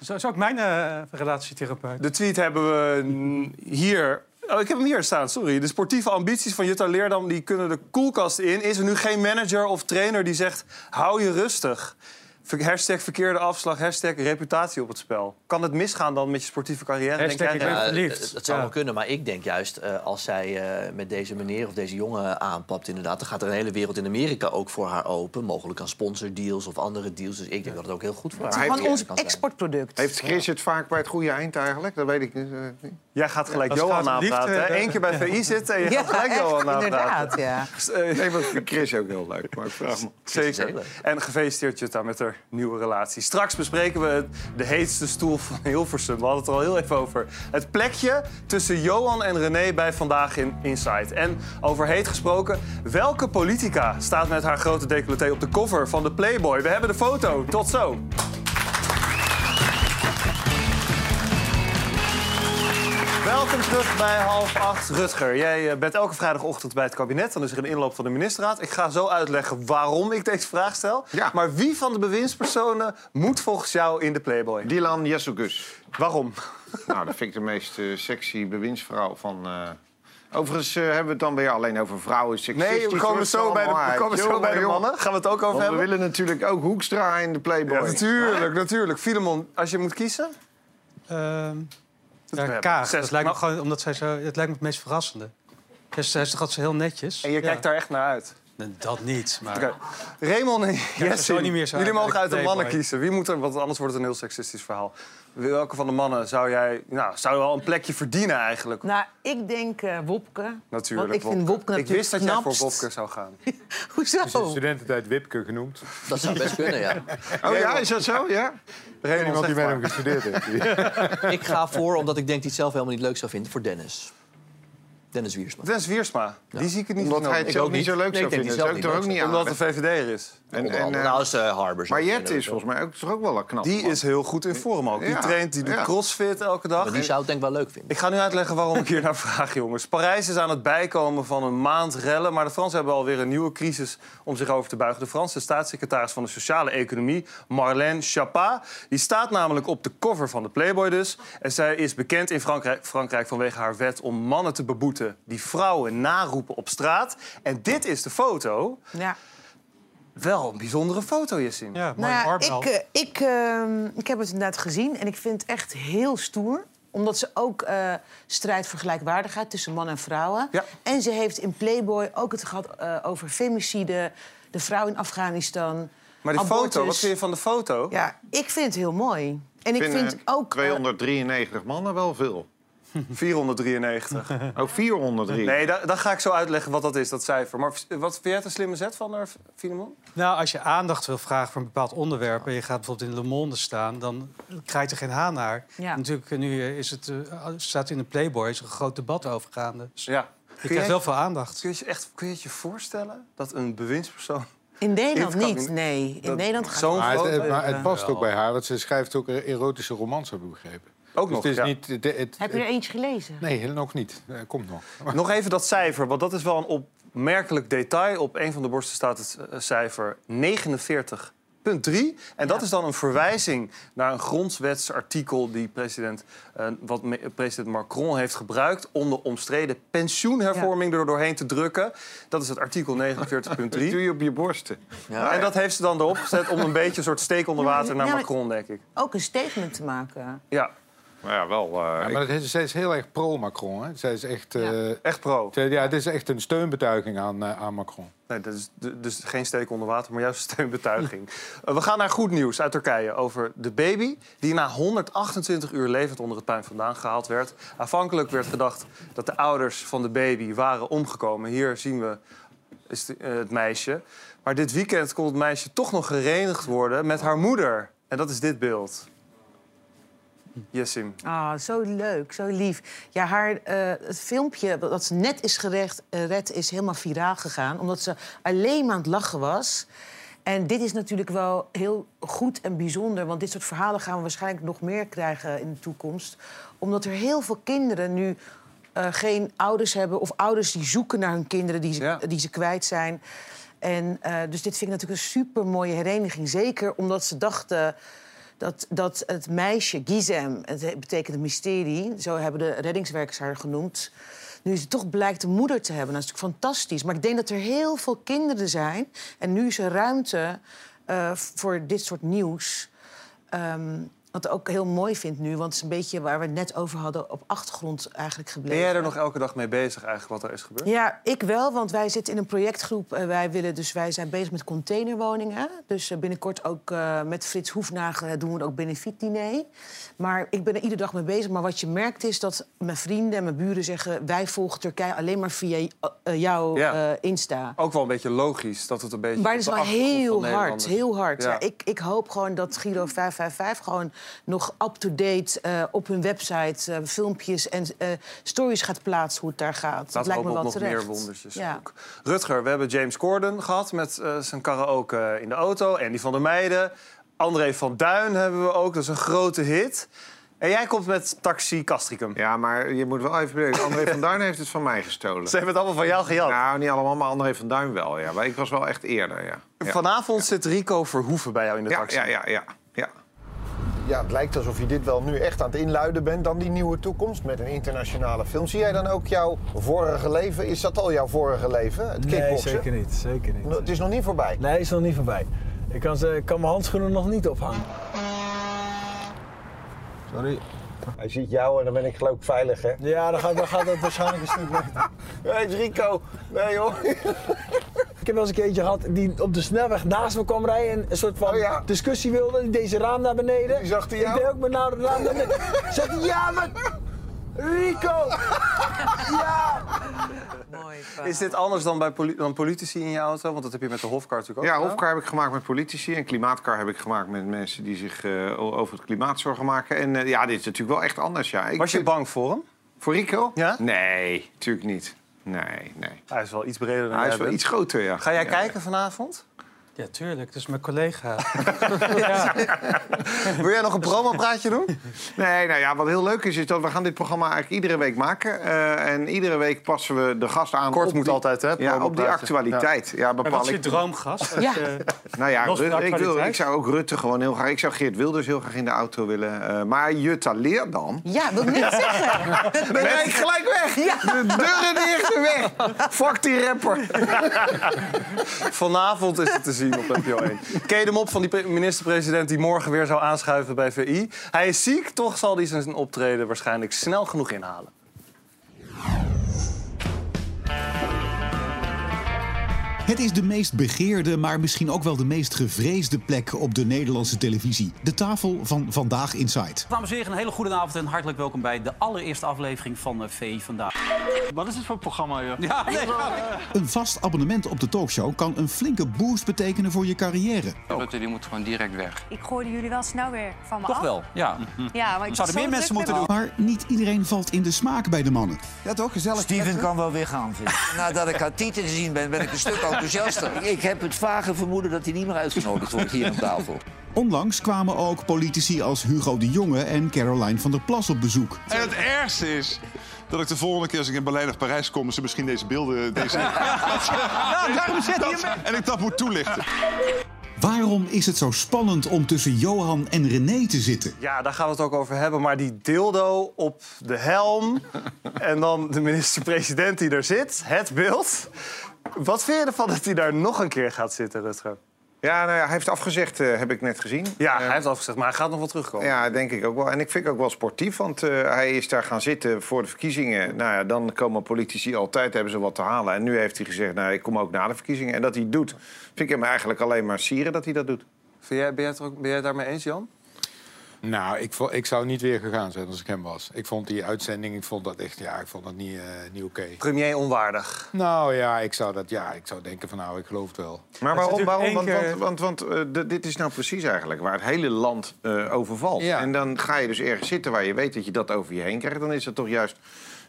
S2: Zo is ook mijn eh, relatietherapeut.
S1: De tweet hebben we mm, hier. Oh, ik heb hem hier staan, sorry. De sportieve ambities van Jutta Leerdam die kunnen de koelkast in. Is er nu geen manager of trainer die zegt: hou je rustig? Ver- Hashtag verkeerde afslag, hashtag reputatie op het spel. Kan het misgaan dan met je sportieve carrière?
S2: Hashtag ik ben
S1: Remy?
S2: verliefd.
S16: eh, het- het zou
S2: Ja.
S16: wel kunnen, maar ik denk juist eh, als zij eh, met deze meneer of deze jongen aanpapt, inderdaad, dan gaat er een hele wereld in Amerika ook voor haar open. Mogelijk aan sponsordeals of andere deals. Dus ik denk dat het ook heel goed voor haar
S3: hij
S16: carrière
S12: Gewoon ons
S3: heeft-
S16: kan zijn.
S12: exportproduct.
S3: Heeft Chris het vaak bij het goede eind eigenlijk? Dat weet ik niet. eh, niet.
S1: Jij gaat gelijk
S2: Als het
S1: Johan
S2: gaat om liefde,
S1: aanpraten. hè?
S2: dan-
S1: Eén keer bij VI zitten en je gaat gelijk
S12: echt,
S1: Johan aanpraten.
S12: inderdaad, ja.
S1: Dus, eh,
S3: Nee, maar ik vind Chris ook heel leuk. Maar ik vraag me.
S1: Zeker. En gefeliciteerd Jutta met haar nieuwe relatie. Straks bespreken we het- de heetste stoel van Hilversum. We hadden het er al heel even over. Het plekje tussen Johan en René bij Vandaag in Inside. En over heet gesproken, welke politica staat met haar grote decolleté op de cover van de Playboy? We hebben de foto. Tot zo. Welkom Welkom terug bij half acht. Rutger, jij eh, bent elke vrijdagochtend bij het kabinet. Dan is er een inloop van de ministerraad. Ik ga zo uitleggen waarom ik deze vraag stel. Maar wie van de bewindspersonen moet volgens jou in de Playboy?
S3: Dylan Jessugus.
S1: Waarom?
S3: Nou, dat vind ik de meest eh, sexy bewindsvrouw van... eh, Overigens eh, hebben we het dan weer alleen over vrouwen. seksistisch,
S1: Nee, we komen
S3: hoor,
S1: zo bij de- we
S3: allemaal
S1: komen
S3: uit.
S1: zo
S3: Jongen,
S1: bij de
S3: jongen.
S1: mannen. Gaan we het ook over
S3: Want
S1: hebben?
S3: we willen natuurlijk ook Hoekstra in de Playboy.
S1: Ja, natuurlijk, natuurlijk. Filemon, als je moet kiezen?
S2: Ehm, Ja,
S1: hebben.
S2: Kaag.
S1: Zes.
S2: Dat lijkt me
S1: Nou-
S2: gewoon, omdat zij zo, het lijkt me het meest verrassende. Zij is, zij is toch altijd zo heel netjes.
S1: En je kijkt daar echt naar uit?
S2: Dat niet, maar...
S1: Oké. Raymond en
S2: er
S1: Jesse,
S2: zo niet meer zo
S1: jullie
S2: uit.
S1: mogen uit de
S2: Nee,
S1: mannen
S2: boy.
S1: kiezen. Wie moet er, want anders wordt het een heel seksistisch verhaal. Welke van de mannen zou jij, nou, zou wel een plekje verdienen eigenlijk?
S12: Nou, ik denk eh Wopke.
S1: Natuurlijk,
S12: Want ik vind Wopke
S1: Ik
S12: natuurlijk
S1: wist dat jij voor
S12: knapst.
S1: Wopke zou gaan.
S12: Hoezo?
S13: Is in studententijd Wipke genoemd.
S16: Dat zou best kunnen, ja.
S3: Oh ja, is dat zo? Ja?
S1: Er is
S13: iemand die
S16: zeg
S13: met
S16: maar.
S13: hem gestudeerd heeft.
S16: ik ga voor, omdat ik denk die het zelf helemaal niet leuk zou vinden, voor Dennis. Dennis Wiersma.
S1: Dennis Wiersma, die zie ik het niet
S16: Omdat
S1: voor
S16: hij
S1: nodig.
S16: het zelf Ik ook niet zo niet. leuk Nee, zou ik denk vinden. die zelf Zou ik niet er leuk ook zou niet aan
S1: Omdat de
S16: vinden.
S1: VVD'er is.
S16: En- en, eh, Nou, is, eh, Harbers
S3: Maar
S16: ook,
S3: Jet
S16: inderdaad.
S3: is volgens mij ook, toch ook wel een knap.
S1: Die is heel goed in vorm ook. Die
S3: Ja,
S1: traint, die doet
S3: ja.
S1: crossfit elke dag.
S16: Maar die zou het denk ik wel leuk vinden.
S1: Ik ga nu uitleggen waarom ik hier naar vraag, jongens. Parijs is aan het bijkomen van een maand rellen. Maar de Fransen hebben alweer een nieuwe crisis om zich over te buigen. De Franse staatssecretaris van de Sociale Economie, Marlène Chapa, die staat namelijk op de cover van de Playboy dus. En zij is bekend in Frankrijk, Frankrijk vanwege haar wet om mannen te beboeten die vrouwen naroepen op straat. En dit is de foto.
S12: Ja.
S1: Wel een bijzondere foto, Jessin.
S2: Ja,
S12: Nou ja, ik, eh, ik, ehm, ik heb het inderdaad gezien en ik vind het echt heel stoer omdat ze ook eh strijdt voor gelijkwaardigheid tussen man en vrouwen. En ze heeft in Playboy ook het gehad eh, over femicide, de vrouw in Afghanistan.
S1: Maar die foto,
S12: abortus.
S1: wat vind je van de foto?
S12: Ja, ik vind het heel mooi. En ik vind
S3: eh,
S12: ook... eh,
S3: 293 mannen wel veel.
S1: 493.
S3: Oh, 403.
S1: Nee, da- dan ga ik zo uitleggen wat dat is, dat cijfer. Maar v- wat vind jij het een slimme zet van haar, Filemon?
S2: Nou, als je aandacht wil vragen voor een bepaald onderwerp... en je gaat bijvoorbeeld in Le Monde staan, dan krijgt er geen haan naar.
S12: Ja.
S2: Natuurlijk, eh, nu eh, is het, eh, staat in de Playboy is er een groot debat over gaande. Dus
S1: Ja.
S2: je krijgt wel veel aandacht.
S1: Kun je, je echt, kun je het je voorstellen dat een bewindspersoon...
S12: In Nederland
S1: In het
S12: niet,
S1: kabinet.
S12: nee. In
S1: Dat-
S12: Nederland gaat
S1: zo'n
S12: het
S13: Maar
S12: niet.
S13: het, maar het past ook
S1: Ja.
S13: bij haar, want ze schrijft ook erotische romans, heb ik begrepen. Dus
S1: Ook nog,
S13: het is
S1: ja.
S13: niet, het, het-
S12: Heb je er eentje gelezen?
S13: Nee, nog niet. Eh, komt nog.
S1: Nog even dat cijfer, want dat is wel een opmerkelijk detail. Op een van de borsten staat het eh, cijfer 49. Punt 3. En dat is dan een verwijzing naar een grondwetsartikel die president, eh, wat me- president Macron heeft gebruikt om de omstreden pensioenhervorming er doorheen te drukken. Dat is het artikel 49.3.
S3: Doe je op je borsten.
S1: En dat heeft ze dan erop gezet om een beetje een soort steek onder water naar
S12: Ja, maar-
S1: Macron, denk ik.
S12: Ook een statement te maken.
S1: Ja.
S3: Maar Nou ja, wel...
S13: Ja, maar het is, zij is heel erg pro-Macron. hè. Zij is echt... eh,
S1: Echt pro.
S13: zij- ja, het is echt een steunbetuiging aan, eh, aan Macron.
S1: Nee, dat is d- dus geen steek onder water, maar juist een steunbetuiging. Eh, we gaan naar goed nieuws uit Turkije over de baby... die na 128 uur levend onder het puin vandaan gehaald werd. Aanvankelijk werd gedacht dat de ouders van de baby waren omgekomen. Hier zien we is de- eh, het meisje. Maar dit weekend kon het meisje toch nog gerenigd worden met haar moeder. En dat is dit beeld. Jessim.
S12: Ah, zo leuk, zo lief. Ja, haar eh, het filmpje dat ze net is gerecht, eh, red, is helemaal viraal gegaan. Omdat ze alleen maar aan het lachen was. En dit is natuurlijk wel heel goed en bijzonder. Want dit soort verhalen gaan we waarschijnlijk nog meer krijgen in de toekomst. Omdat er heel veel kinderen nu eh, geen ouders hebben. Of ouders die zoeken naar hun kinderen die ze, die ze kwijt zijn. En, eh, dus dit vind ik natuurlijk een super mooie hereniging. Zeker omdat ze dachten dat, dat het meisje Gizem, het he- betekent mysterie, zo hebben de reddingswerkers haar genoemd. Nu ze toch blijkt een moeder te hebben. Dat is natuurlijk fantastisch. Maar ik denk dat er heel veel kinderen zijn. En nu is er ruimte eh, voor dit soort nieuws. Ehm, wat ik ook heel mooi vind nu, want het is een beetje waar we het net over hadden, op achtergrond eigenlijk
S1: Ben
S12: gebleven.
S1: jij er nog elke dag mee bezig eigenlijk wat er is gebeurd?
S12: Ja, ik wel, want wij zitten in een projectgroep. En wij, willen, dus wij zijn bezig met containerwoningen. Dus eh, binnenkort ook eh, met Frits Hoefnagel eh, doen we ook benefietdiner. Maar ik ben er iedere dag mee bezig. Maar wat je merkt is dat mijn vrienden en mijn buren zeggen... wij volgen Turkije alleen maar via eh, eh, jouw
S1: Ja.
S12: eh, Insta.
S1: Ook wel een beetje logisch dat het een beetje...
S12: Maar het is
S1: op de
S12: wel
S1: achtergrond van
S12: heel hard,
S1: Nederlanders-
S12: heel hard. Ja. ik, ik hoop gewoon dat Giro 555 gewoon nog up-to-date eh, op hun website... eh, filmpjes en eh, stories gaat plaatsen hoe het daar gaat.
S1: Laten
S12: dat
S1: we
S12: lijkt me
S1: hopen
S12: wel
S1: op nog
S12: terecht.
S1: meer wondertjes
S12: Ja.
S1: Rutger, we hebben James Corden gehad met eh, zijn karaoke eh, in de auto. Andy van der Meijden. André van Duin hebben we ook, dat is een grote hit. En jij komt met Taxi Castricum.
S3: Ja, maar je moet wel even bedenken. André van Duin heeft het van mij gestolen.
S1: Ze hebben het allemaal van jou gejat.
S3: Nou, niet allemaal, maar André van Duin wel. Ja. Maar ik was wel echt eerder, ja. ja.
S1: Vanavond zit Rico Verhoeven bij jou in de
S3: Ja,
S1: taxi.
S3: ja, ja, ja, ja.
S7: Ja, het lijkt alsof je dit wel nu echt aan het inluiden bent dan die nieuwe toekomst met een internationale film. Zie jij dan ook jouw vorige leven? Is dat al jouw vorige leven? Het
S8: Nee,
S7: kickboksen?
S8: zeker niet. Zeker niet.
S7: Het is nog niet voorbij.
S8: Nee, is nog niet voorbij. Ik kan, ze, ik kan mijn handschoenen nog niet ophangen.
S7: Sorry. Hij ziet jou en dan ben ik geloof ik veilig, hè?
S8: Ja, dan gaat, dan gaat het waarschijnlijk een stuk beter.
S7: Hé, Rico. Nee, hoor.
S8: Ik heb wel eens een keertje gehad die op de snelweg naast me kwam rijden en een soort
S7: Oh
S8: van discussie wilde. Die deed zijn raam naar beneden. Die zag hij Ik deed ook mijn nou- raam naar beneden. Zegt hij, ja, maar... Rico! ja!
S1: Is dit anders dan bij poli- dan politici in je auto? Want dat heb je met de Hofkar natuurlijk ook.
S3: Ja,
S1: gedaan.
S3: Hofkar heb ik gemaakt met politici en klimaatcar heb ik gemaakt met mensen die zich eh, o- over het klimaat zorgen maken. En eh, ja, dit is natuurlijk wel echt anders, ja. Ik
S1: Was je
S3: vind-
S1: bang voor hem?
S3: Voor Rico?
S1: Ja?
S3: Nee, natuurlijk niet. Nee, nee.
S1: Hij is wel iets breder dan
S3: Hij
S1: jij
S3: is wel
S1: bent.
S3: iets groter, ja.
S1: Ga jij
S3: Ja.
S1: kijken vanavond?
S2: Ja, tuurlijk. Dat is mijn collega.
S1: Wil jij nog een promopraatje doen?
S3: Nee, nou ja, wat heel leuk is, is dat we gaan dit programma eigenlijk iedere week maken. Eh en iedere week passen we de gast aan.
S1: Kort
S3: op
S1: moet
S3: die-
S1: altijd, hè,
S3: Ja, op die
S1: promopraatje.
S3: actualiteit. Ja,
S2: Maar
S3: bepaal
S2: wat is je
S3: ik.
S2: droomgast?
S8: Ja.
S16: eh,
S3: Nou ja,
S2: Los van de
S3: Ru- ik, wil,
S2: actualiteit.
S3: ik zou ook Rutte gewoon heel graag... Ik zou Geert Wilders heel graag in de auto willen. eh, maar Jutta Leer dan?
S12: Ja, wil ik net zeggen.
S3: Ben jij gelijk weg? De deuren de eerste weg. Fuck die rapper.
S1: Vanavond is het te zien op NPO 1. Kee de Mop van die pre- minister-president die morgen weer zou aanschuiven bij VI. Hij is ziek, toch zal hij zijn optreden waarschijnlijk snel genoeg inhalen.
S4: Het is de meest begeerde, maar misschien ook wel de meest gevreesde plek op de Nederlandse televisie. De tafel van Vandaag Inside.
S9: Dames en heren, een hele goede avond en hartelijk welkom bij de allereerste aflevering van eh, VI vandaag. Wat is het voor programma, joh? Ja, nee,
S4: Een vast abonnement op de talkshow kan een flinke boost betekenen voor je carrière.
S10: Oh. Rutte die moet gewoon direct weg.
S31: Ik gooide jullie wel snel weer van me af.
S10: ja.
S1: Mhm.
S31: Ja, maar ik
S10: Hm. Zouden meer mensen moeten doen.
S4: Maar niet iedereen valt in de smaak bij de mannen.
S32: Ja, toch? Gezellig. Steven kan wel weer gaan, vind ik. Nadat ik haar tieten gezien ben, ben ik een stuk enthousiaster. Ik heb het vage vermoeden dat hij niet meer uitgenodigd wordt hier aan tafel.
S4: Onlangs kwamen ook politici als Hugo de Jonge en Caroline van der Plas op bezoek.
S14: En het ergste is dat ik de volgende keer als ik in Berlijn of Parijs kom... ze misschien deze beelden... Deze... daarom zit hij Dat- En ik dat moet toelichten.
S4: Waarom is het zo spannend om tussen Johan en René te zitten?
S1: Ja, daar gaan we het ook over hebben. Maar die dildo op de helm en dan de minister-president die er zit, het beeld. Wat vind je ervan dat hij daar nog een keer gaat zitten, Rutger?
S3: Ja, nou ja, hij heeft afgezegd, eh, heb ik net gezien. Eh,
S1: Ja, hij heeft afgezegd, maar hij gaat nog wel terugkomen.
S3: Ja, denk ik ook wel. En ik vind het ook wel sportief, want eh, hij is daar gaan zitten voor de verkiezingen. Nou ja, dan komen politici altijd, hebben ze wat te halen. En nu heeft hij gezegd, nou, ik kom ook na de verkiezingen. En dat hij het doet, vind ik hem eigenlijk alleen maar sieren dat hij dat doet.
S1: Vind jij, ben, jij het er ook- ben jij het daarmee eens, Jan?
S13: Nou, ik, vo- ik zou niet weer gegaan zijn als ik hem was. Ik vond die uitzending, ik vond dat echt, ja, ik vond dat niet, eh, niet oké.
S1: Premier onwaardig.
S13: Nou ja ik, zou dat, ja, ik zou denken van nou, ik geloof het wel.
S3: Maar waarom? waarom? Want, want, want, want, eh, d- dit is nou precies eigenlijk waar het hele land eh, over valt.
S13: Ja.
S3: En dan ga je dus ergens zitten waar je weet dat je dat over je heen krijgt. Dan is dat toch juist...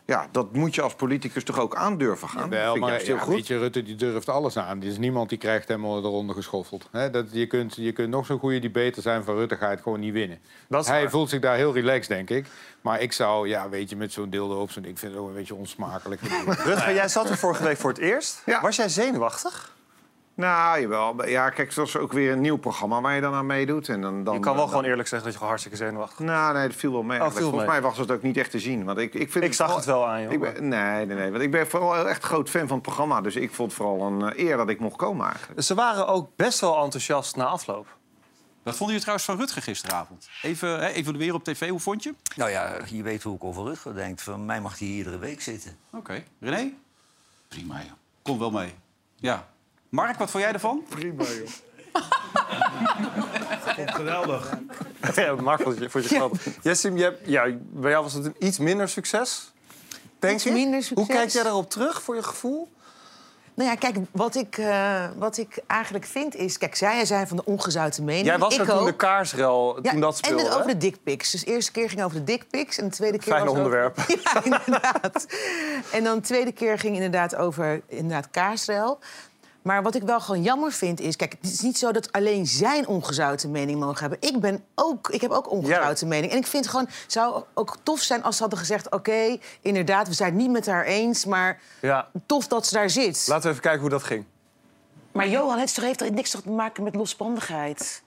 S3: Ja, dat moet je als politicus toch ook aandurven gaan?
S13: Wel,
S3: Vind ik
S13: maar
S3: juist heel
S13: ja,
S3: goed.
S13: weet je, Rutte die durft alles aan. Er is niemand die krijgt hem eronder geschoffeld. Hè, dat, je, kunt, je kunt nog zo'n goede debater zijn van Rutte, ga je het gewoon niet winnen. Hij voelt zich daar heel relaxed, denk ik. Maar ik zou, ja, weet je, met zo'n dildo op zo'n... Ik vind het ook een beetje onsmakelijk.
S1: Rutger, jij zat er vorige week voor het eerst. Was jij zenuwachtig?
S3: Nou, jawel. Ja, kijk, het was ook weer een nieuw programma waar je dan aan meedoet. En dan, dan,
S1: Je kan wel
S3: dan-
S1: gewoon eerlijk zeggen dat je gewoon hartstikke zenuwachtig
S3: Nou, nee, dat viel wel mee.
S1: Oh, viel
S3: eigenlijk. Volgens
S1: mee.
S3: mij was het ook niet echt te zien. Want ik, ik, vind
S1: Ik zag het wel aan je,
S3: Ik ben- nee, nee, nee. Want ik ben vooral echt groot fan van het programma. Dus ik vond het vooral een eh, eer dat ik mocht komen eigenlijk.
S1: bent. Ze waren ook best wel enthousiast na afloop.
S10: Wat vonden jullie trouwens van Rutger gisteravond? Even hè, evalueren op tv, hoe vond je? hem?
S32: Nou ja, je weet hoe ik over Rutger denk. Van mij mag hij hier iedere week zitten.
S10: Oké. René? Prima, joh. Kom wel mee. Ja. Mark, wat vond jij ervan?
S1: Prima, joh. Geweldig. ja, Mark, vond je, vond je grappig. Jessim, je hebt- ja, bij jou was het een iets minder succes. Denk
S12: Iets
S1: ik.
S12: minder succes.
S1: Hoe kijk jij daarop terug, voor je gevoel?
S12: Nou ja, kijk, wat ik, eh, wat ik eigenlijk vind is... Kijk, zij zijn van de ongezouten mening.
S1: Jij was
S12: ik
S1: er toen
S12: ook.
S1: de kaarsrel,
S12: Ja,
S1: toen dat
S12: en
S1: speelde.
S12: het over
S1: hè?
S12: de dickpics. Dus de eerste keer ging over de dickpics en de tweede keer
S1: Fijne
S12: was het over-
S1: onderwerp.
S12: Ja, inderdaad. En dan de tweede keer ging inderdaad over inderdaad kaarsrel. Maar wat ik wel gewoon jammer vind is... Kijk, het is niet zo dat alleen zijn ongezouten mening mogen hebben. Ik, ben ook, ik heb ook ongezouten mening. En ik vind gewoon... Het zou ook tof zijn als ze hadden gezegd... oké, inderdaad, we zijn het niet met haar eens, maar
S1: Ja.
S12: tof dat ze daar zit.
S1: Laten we even kijken hoe dat ging.
S12: Maar Johan, het heeft toch niks te maken met losbandigheid?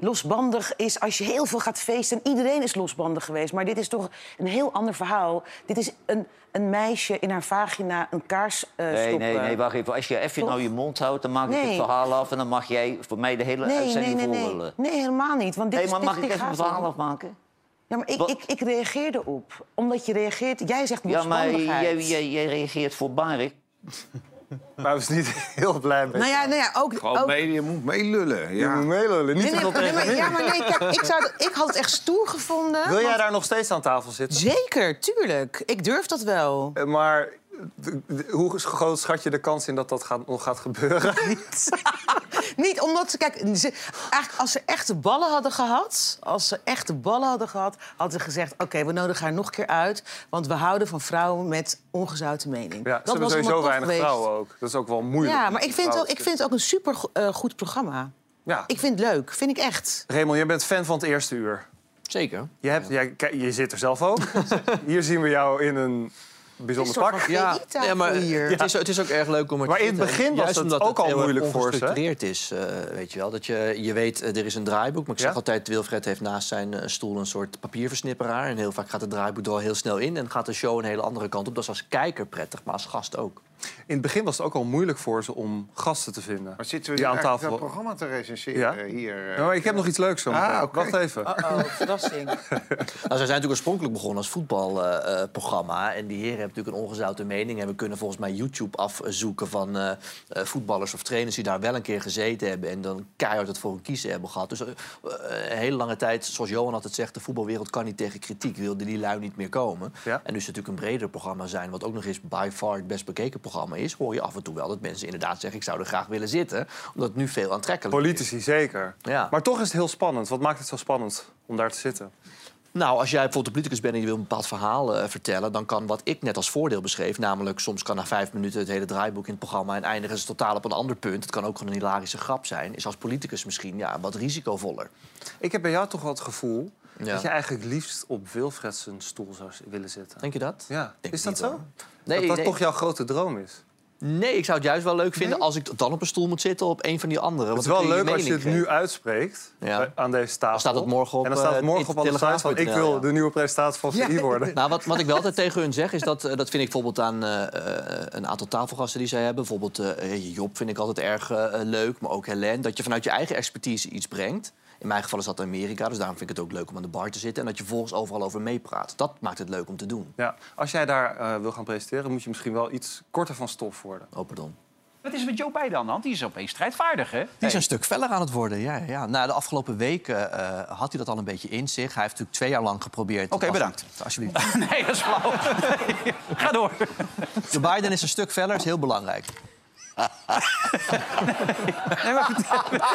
S12: Losbandig is als je heel veel gaat feesten. En iedereen is losbandig geweest. Maar dit is toch een heel ander verhaal. Dit is een, een meisje in haar vagina een kaars eh,
S32: Nee,
S12: stoppen.
S32: nee, nee, wacht even. Als je even
S12: Toch?
S32: nou je mond houdt, dan maak ik
S12: Nee.
S32: het verhaal af... en dan mag jij voor mij de hele
S12: Nee, nee,
S32: uitzending
S12: nee, nee.
S32: voorlullen.
S12: Nee, helemaal niet. Want dit
S32: Nee,
S12: is-
S32: maar
S12: dit-
S32: mag ik
S12: dit
S32: even
S12: gaat
S32: mijn verhaal
S12: om.
S32: afmaken?
S12: Ja, maar ik, ik, ik reageer erop. Omdat je reageert... Jij zegt
S32: Ja, maar
S12: losbandigheid.
S32: jij, jij, jij reageert voorbarig.
S1: Maar we zijn niet heel blij mee.
S12: Nou ja, nou ja, ook... ook-
S3: je moet meelullen. Ja.
S1: Je moet meelullen, niet
S12: Nee,
S1: te
S12: nee,
S1: veel
S12: nee, maar-
S1: tegenin.
S12: ja, maar nee, kijk, ik, zou, dat- ik had het echt stoer gevonden.
S1: Wil jij
S12: want-
S1: daar nog steeds aan tafel zitten?
S12: Zeker, tuurlijk. Ik durf dat wel.
S1: Eh, Maar d- d- hoe groot schat je de kans in dat dat gaat, nog gaat gebeuren?
S12: Niet omdat ze, kijk, ze, eigenlijk als ze echte ballen hadden gehad, als ze echte ballen hadden gehad, hadden ze gezegd: Oké, we nodigen haar nog een keer uit, want we houden van vrouwen met ongezouten mening.
S1: Ja, ze hebben
S12: allemaal
S1: sowieso
S12: tof
S1: weinig
S12: geweest.
S1: vrouwen ook. Dat is ook wel moeilijk.
S12: Ja, maar ik vind, wel,
S1: Vrouwen-
S12: ik vind het ook een super eh, goed programma.
S1: Ja.
S12: Ik vind het leuk, vind ik echt.
S1: Raymond, jij bent fan van het eerste uur.
S16: Zeker.
S1: Je, hebt, jij, kijk, je zit er zelf ook. Hier zien we jou in een bijzonder pak.
S16: nee, maar Het, is, het is ook erg leuk om er
S1: Maar
S16: te
S1: in het
S16: zitten.
S1: begin was
S16: Juist
S1: het
S16: omdat
S1: ook al
S16: heel erg
S1: moeilijk voor ze, hè?
S16: ongestructureerd is, eh, weet je wel. Dat je, je weet, eh, er is een draaiboek. Maar ik zeg
S1: Ja?
S16: altijd, Wilfred heeft naast zijn eh, stoel een soort papierversnipperaar. En heel vaak gaat het draaiboek er al heel snel in. En gaat de show een hele andere kant op. Dat is als kijker prettig, maar als gast ook.
S1: In het begin was het ook al moeilijk voor ze om gasten te vinden. Maar
S3: Zitten we hier eigenlijk dat programma te recenseren
S1: Ja.
S3: hier? eh?
S1: Ja, Nou, maar ik heb nog iets leuks zo. meteen.
S3: Ah, oké.
S1: Wacht even.
S12: verrassing.
S16: Nou, zij zijn natuurlijk oorspronkelijk begonnen als voetbalprogramma. en die heren hebben natuurlijk een ongezouten mening. En we kunnen volgens mij YouTube afzoeken van eh, eh, voetballers of trainers die daar wel een keer gezeten hebben. En dan keihard het voor een kiezen hebben gehad. Dus eh, eh, een hele lange tijd, zoals Johan altijd zegt, de voetbalwereld kan niet tegen kritiek. Wilde die lui niet meer komen. En nu ze natuurlijk een breder programma zijn, wat ook nog eens by far het best bekeken programma is, hoor je af en toe wel dat mensen inderdaad zeggen: ik zou er graag willen zitten. Omdat het nu veel aantrekkelijker is.
S1: Politici, zeker.
S16: Ja.
S1: Maar toch is het heel spannend. Wat maakt het zo spannend om daar te zitten?
S16: Nou, als jij bijvoorbeeld een politicus bent en je wil een bepaald verhaal eh, vertellen... dan kan wat ik net als voordeel beschreef... namelijk soms kan na vijf minuten het hele draaiboek in het programma... en eindigen ze totaal op een ander punt. Het kan ook gewoon een hilarische grap zijn. Is als politicus misschien ja, wat risicovoller.
S1: Ik heb bij jou toch wel het gevoel
S16: Ja.
S1: dat je eigenlijk liefst op Wilfred zijn stoel zou willen zitten.
S16: Denk je dat?
S1: Ja.
S16: Denk
S1: is
S16: ik
S1: dat
S16: niet,
S1: zo?
S16: hoor. Nee,
S1: Nee, dat dat
S16: nee.
S1: toch jouw grote droom is?
S16: Nee, ik zou het juist wel leuk vinden als ik dan op een stoel moet zitten... op een van die andere.
S1: Het
S16: want
S1: is
S16: dan kun je
S1: wel leuk als je
S16: mening
S1: het nu
S16: geven.
S1: uitspreekt eh, aan deze tafel. Dan
S16: staat het morgen op,
S1: En dan staat het
S16: eh,
S1: morgen op aan de site van... ik
S16: telegraaf.nl,
S1: wil
S16: ja.
S1: de nieuwe presentatie van VI worden.
S16: Nou, wat, wat ik wel altijd tegen hun zeg, is dat... eh, dat vind ik bijvoorbeeld aan eh, eh, een aantal tafelgasten die zij hebben. Bijvoorbeeld eh, Job vind ik altijd erg eh, leuk, maar ook Helen. Dat je vanuit je eigen expertise iets brengt. In mijn geval is dat Amerika, dus daarom vind ik het ook leuk om aan de bar te zitten. En dat je volgens overal over meepraat. Dat maakt het leuk om te doen.
S1: Ja, als jij daar eh, wil gaan presenteren, moet je misschien wel iets korter van stof worden.
S16: Oh, pardon.
S9: Wat is er met Joe Biden aan de hand? Die is opeens strijdvaardig, hè?
S16: Die is een stuk feller aan het worden, ja. ja. Na de afgelopen weken eh, had hij dat al een beetje in zich. Hij heeft natuurlijk twee jaar lang geprobeerd... Oké, bedankt. Alsjeblieft.
S9: Nee, dat is flauw. Ga door.
S16: De Biden is een stuk feller, is heel belangrijk.
S9: Nee, maar vertel,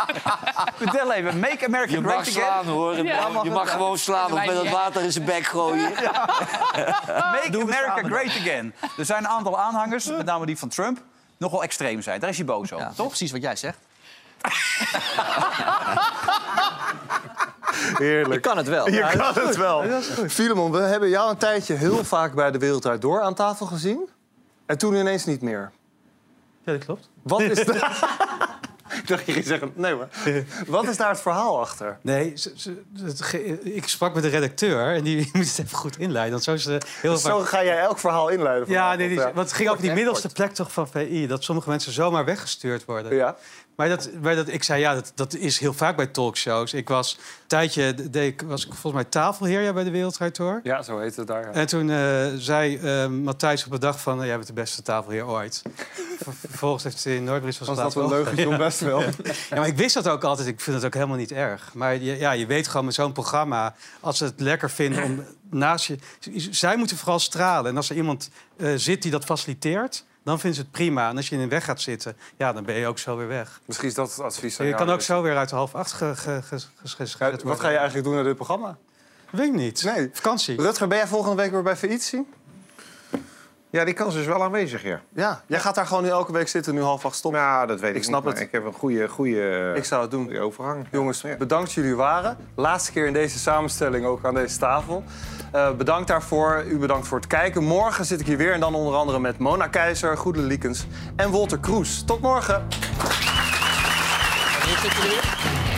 S9: vertel even. Make America
S32: Je
S9: Great
S32: mag
S9: Again.
S32: slaan, hoor.
S9: Ja,
S32: Je mag gewoon slaan of met het water in zijn bek gooien.
S9: Make America Great Again. Er zijn een aantal aanhangers, met name die van Trump, nogal extreem zijn. Daar is hij boos over, toch?
S16: Precies wat jij zegt.
S1: Heerlijk.
S16: Je kan het wel.
S1: Je
S16: Ja,
S1: kan
S16: dat is
S1: het
S16: goed.
S1: wel.
S16: Ja, dat is goed.
S1: Filemon, we hebben jou een tijdje heel vaak bij de Wereld Draait Door aan tafel gezien. En toen ineens niet meer.
S5: Ja, dat klopt.
S1: Wat is daar... Ik dacht, je ging zeggen, nee maar. Wat is daar het verhaal achter?
S2: Nee, ze- ze- het ge- ik sprak met de redacteur en die moet het even goed inleiden. Want zo is het heel
S1: Dus zo
S2: vaak-
S1: ga jij elk verhaal inleiden
S2: Ja,
S1: vanavond,
S2: nee, die,
S1: ja.
S2: want het ging over die middelste plek toch van VI. Dat sommige mensen zomaar weggestuurd worden.
S1: Ja.
S2: Maar, dat, maar dat, ik zei, ja, dat, dat is heel vaak bij talkshows. Ik was een tijdje, deed ik- was ik volgens mij tafelheer ja, bij de Wereldrijd Door.
S1: Ja, zo heet het daar. ja.
S2: En toen eh, zei eh, Matthijs op een dag van... eh, jij bent de beste tafelheer ooit. Ver- Vervolgens heeft hij in Noordbries
S1: Was dat een leugentje om best wel?
S2: ja, maar ik wist dat ook altijd. Ik vind het ook helemaal niet erg. Maar je, ja, je weet gewoon met zo'n programma... als ze het lekker vinden om naast je... Zij moeten vooral stralen. En als er iemand eh, zit die dat faciliteert... dan vinden ze het prima. En als je in de weg gaat zitten... ja, dan ben je ook zo weer weg.
S1: Misschien is dat het advies aan
S2: Je
S1: jou,
S2: kan ook
S1: dus.
S2: zo weer uit de half acht ge, ge, ge- geschreven worden.
S1: Wat ga je eigenlijk doen naar dit programma?
S2: Weet ik niet.
S1: Nee.
S2: Vakantie.
S1: Rutger, ben jij volgende week weer bij Failliet zien?
S3: Ja, die kans is wel aanwezig, ja.
S1: Ja, jij gaat daar gewoon nu elke week zitten, nu half acht stoppen.
S3: Ja, dat weet ik,
S1: Ik eh, snap
S3: niet, maar
S1: het.
S3: Ik heb een goede, goede
S1: Ik zou het doen.
S3: goede overgang.
S1: Jongens, bedankt jullie waren. Laatste keer in deze samenstelling ook aan deze tafel. Eh, bedankt daarvoor. U bedankt voor het kijken. Morgen zit ik hier weer en dan onder andere met Mona Keizer, Goede Liekens en Wolter Kroes. Tot morgen.
S5: Wanneer zit je er weer?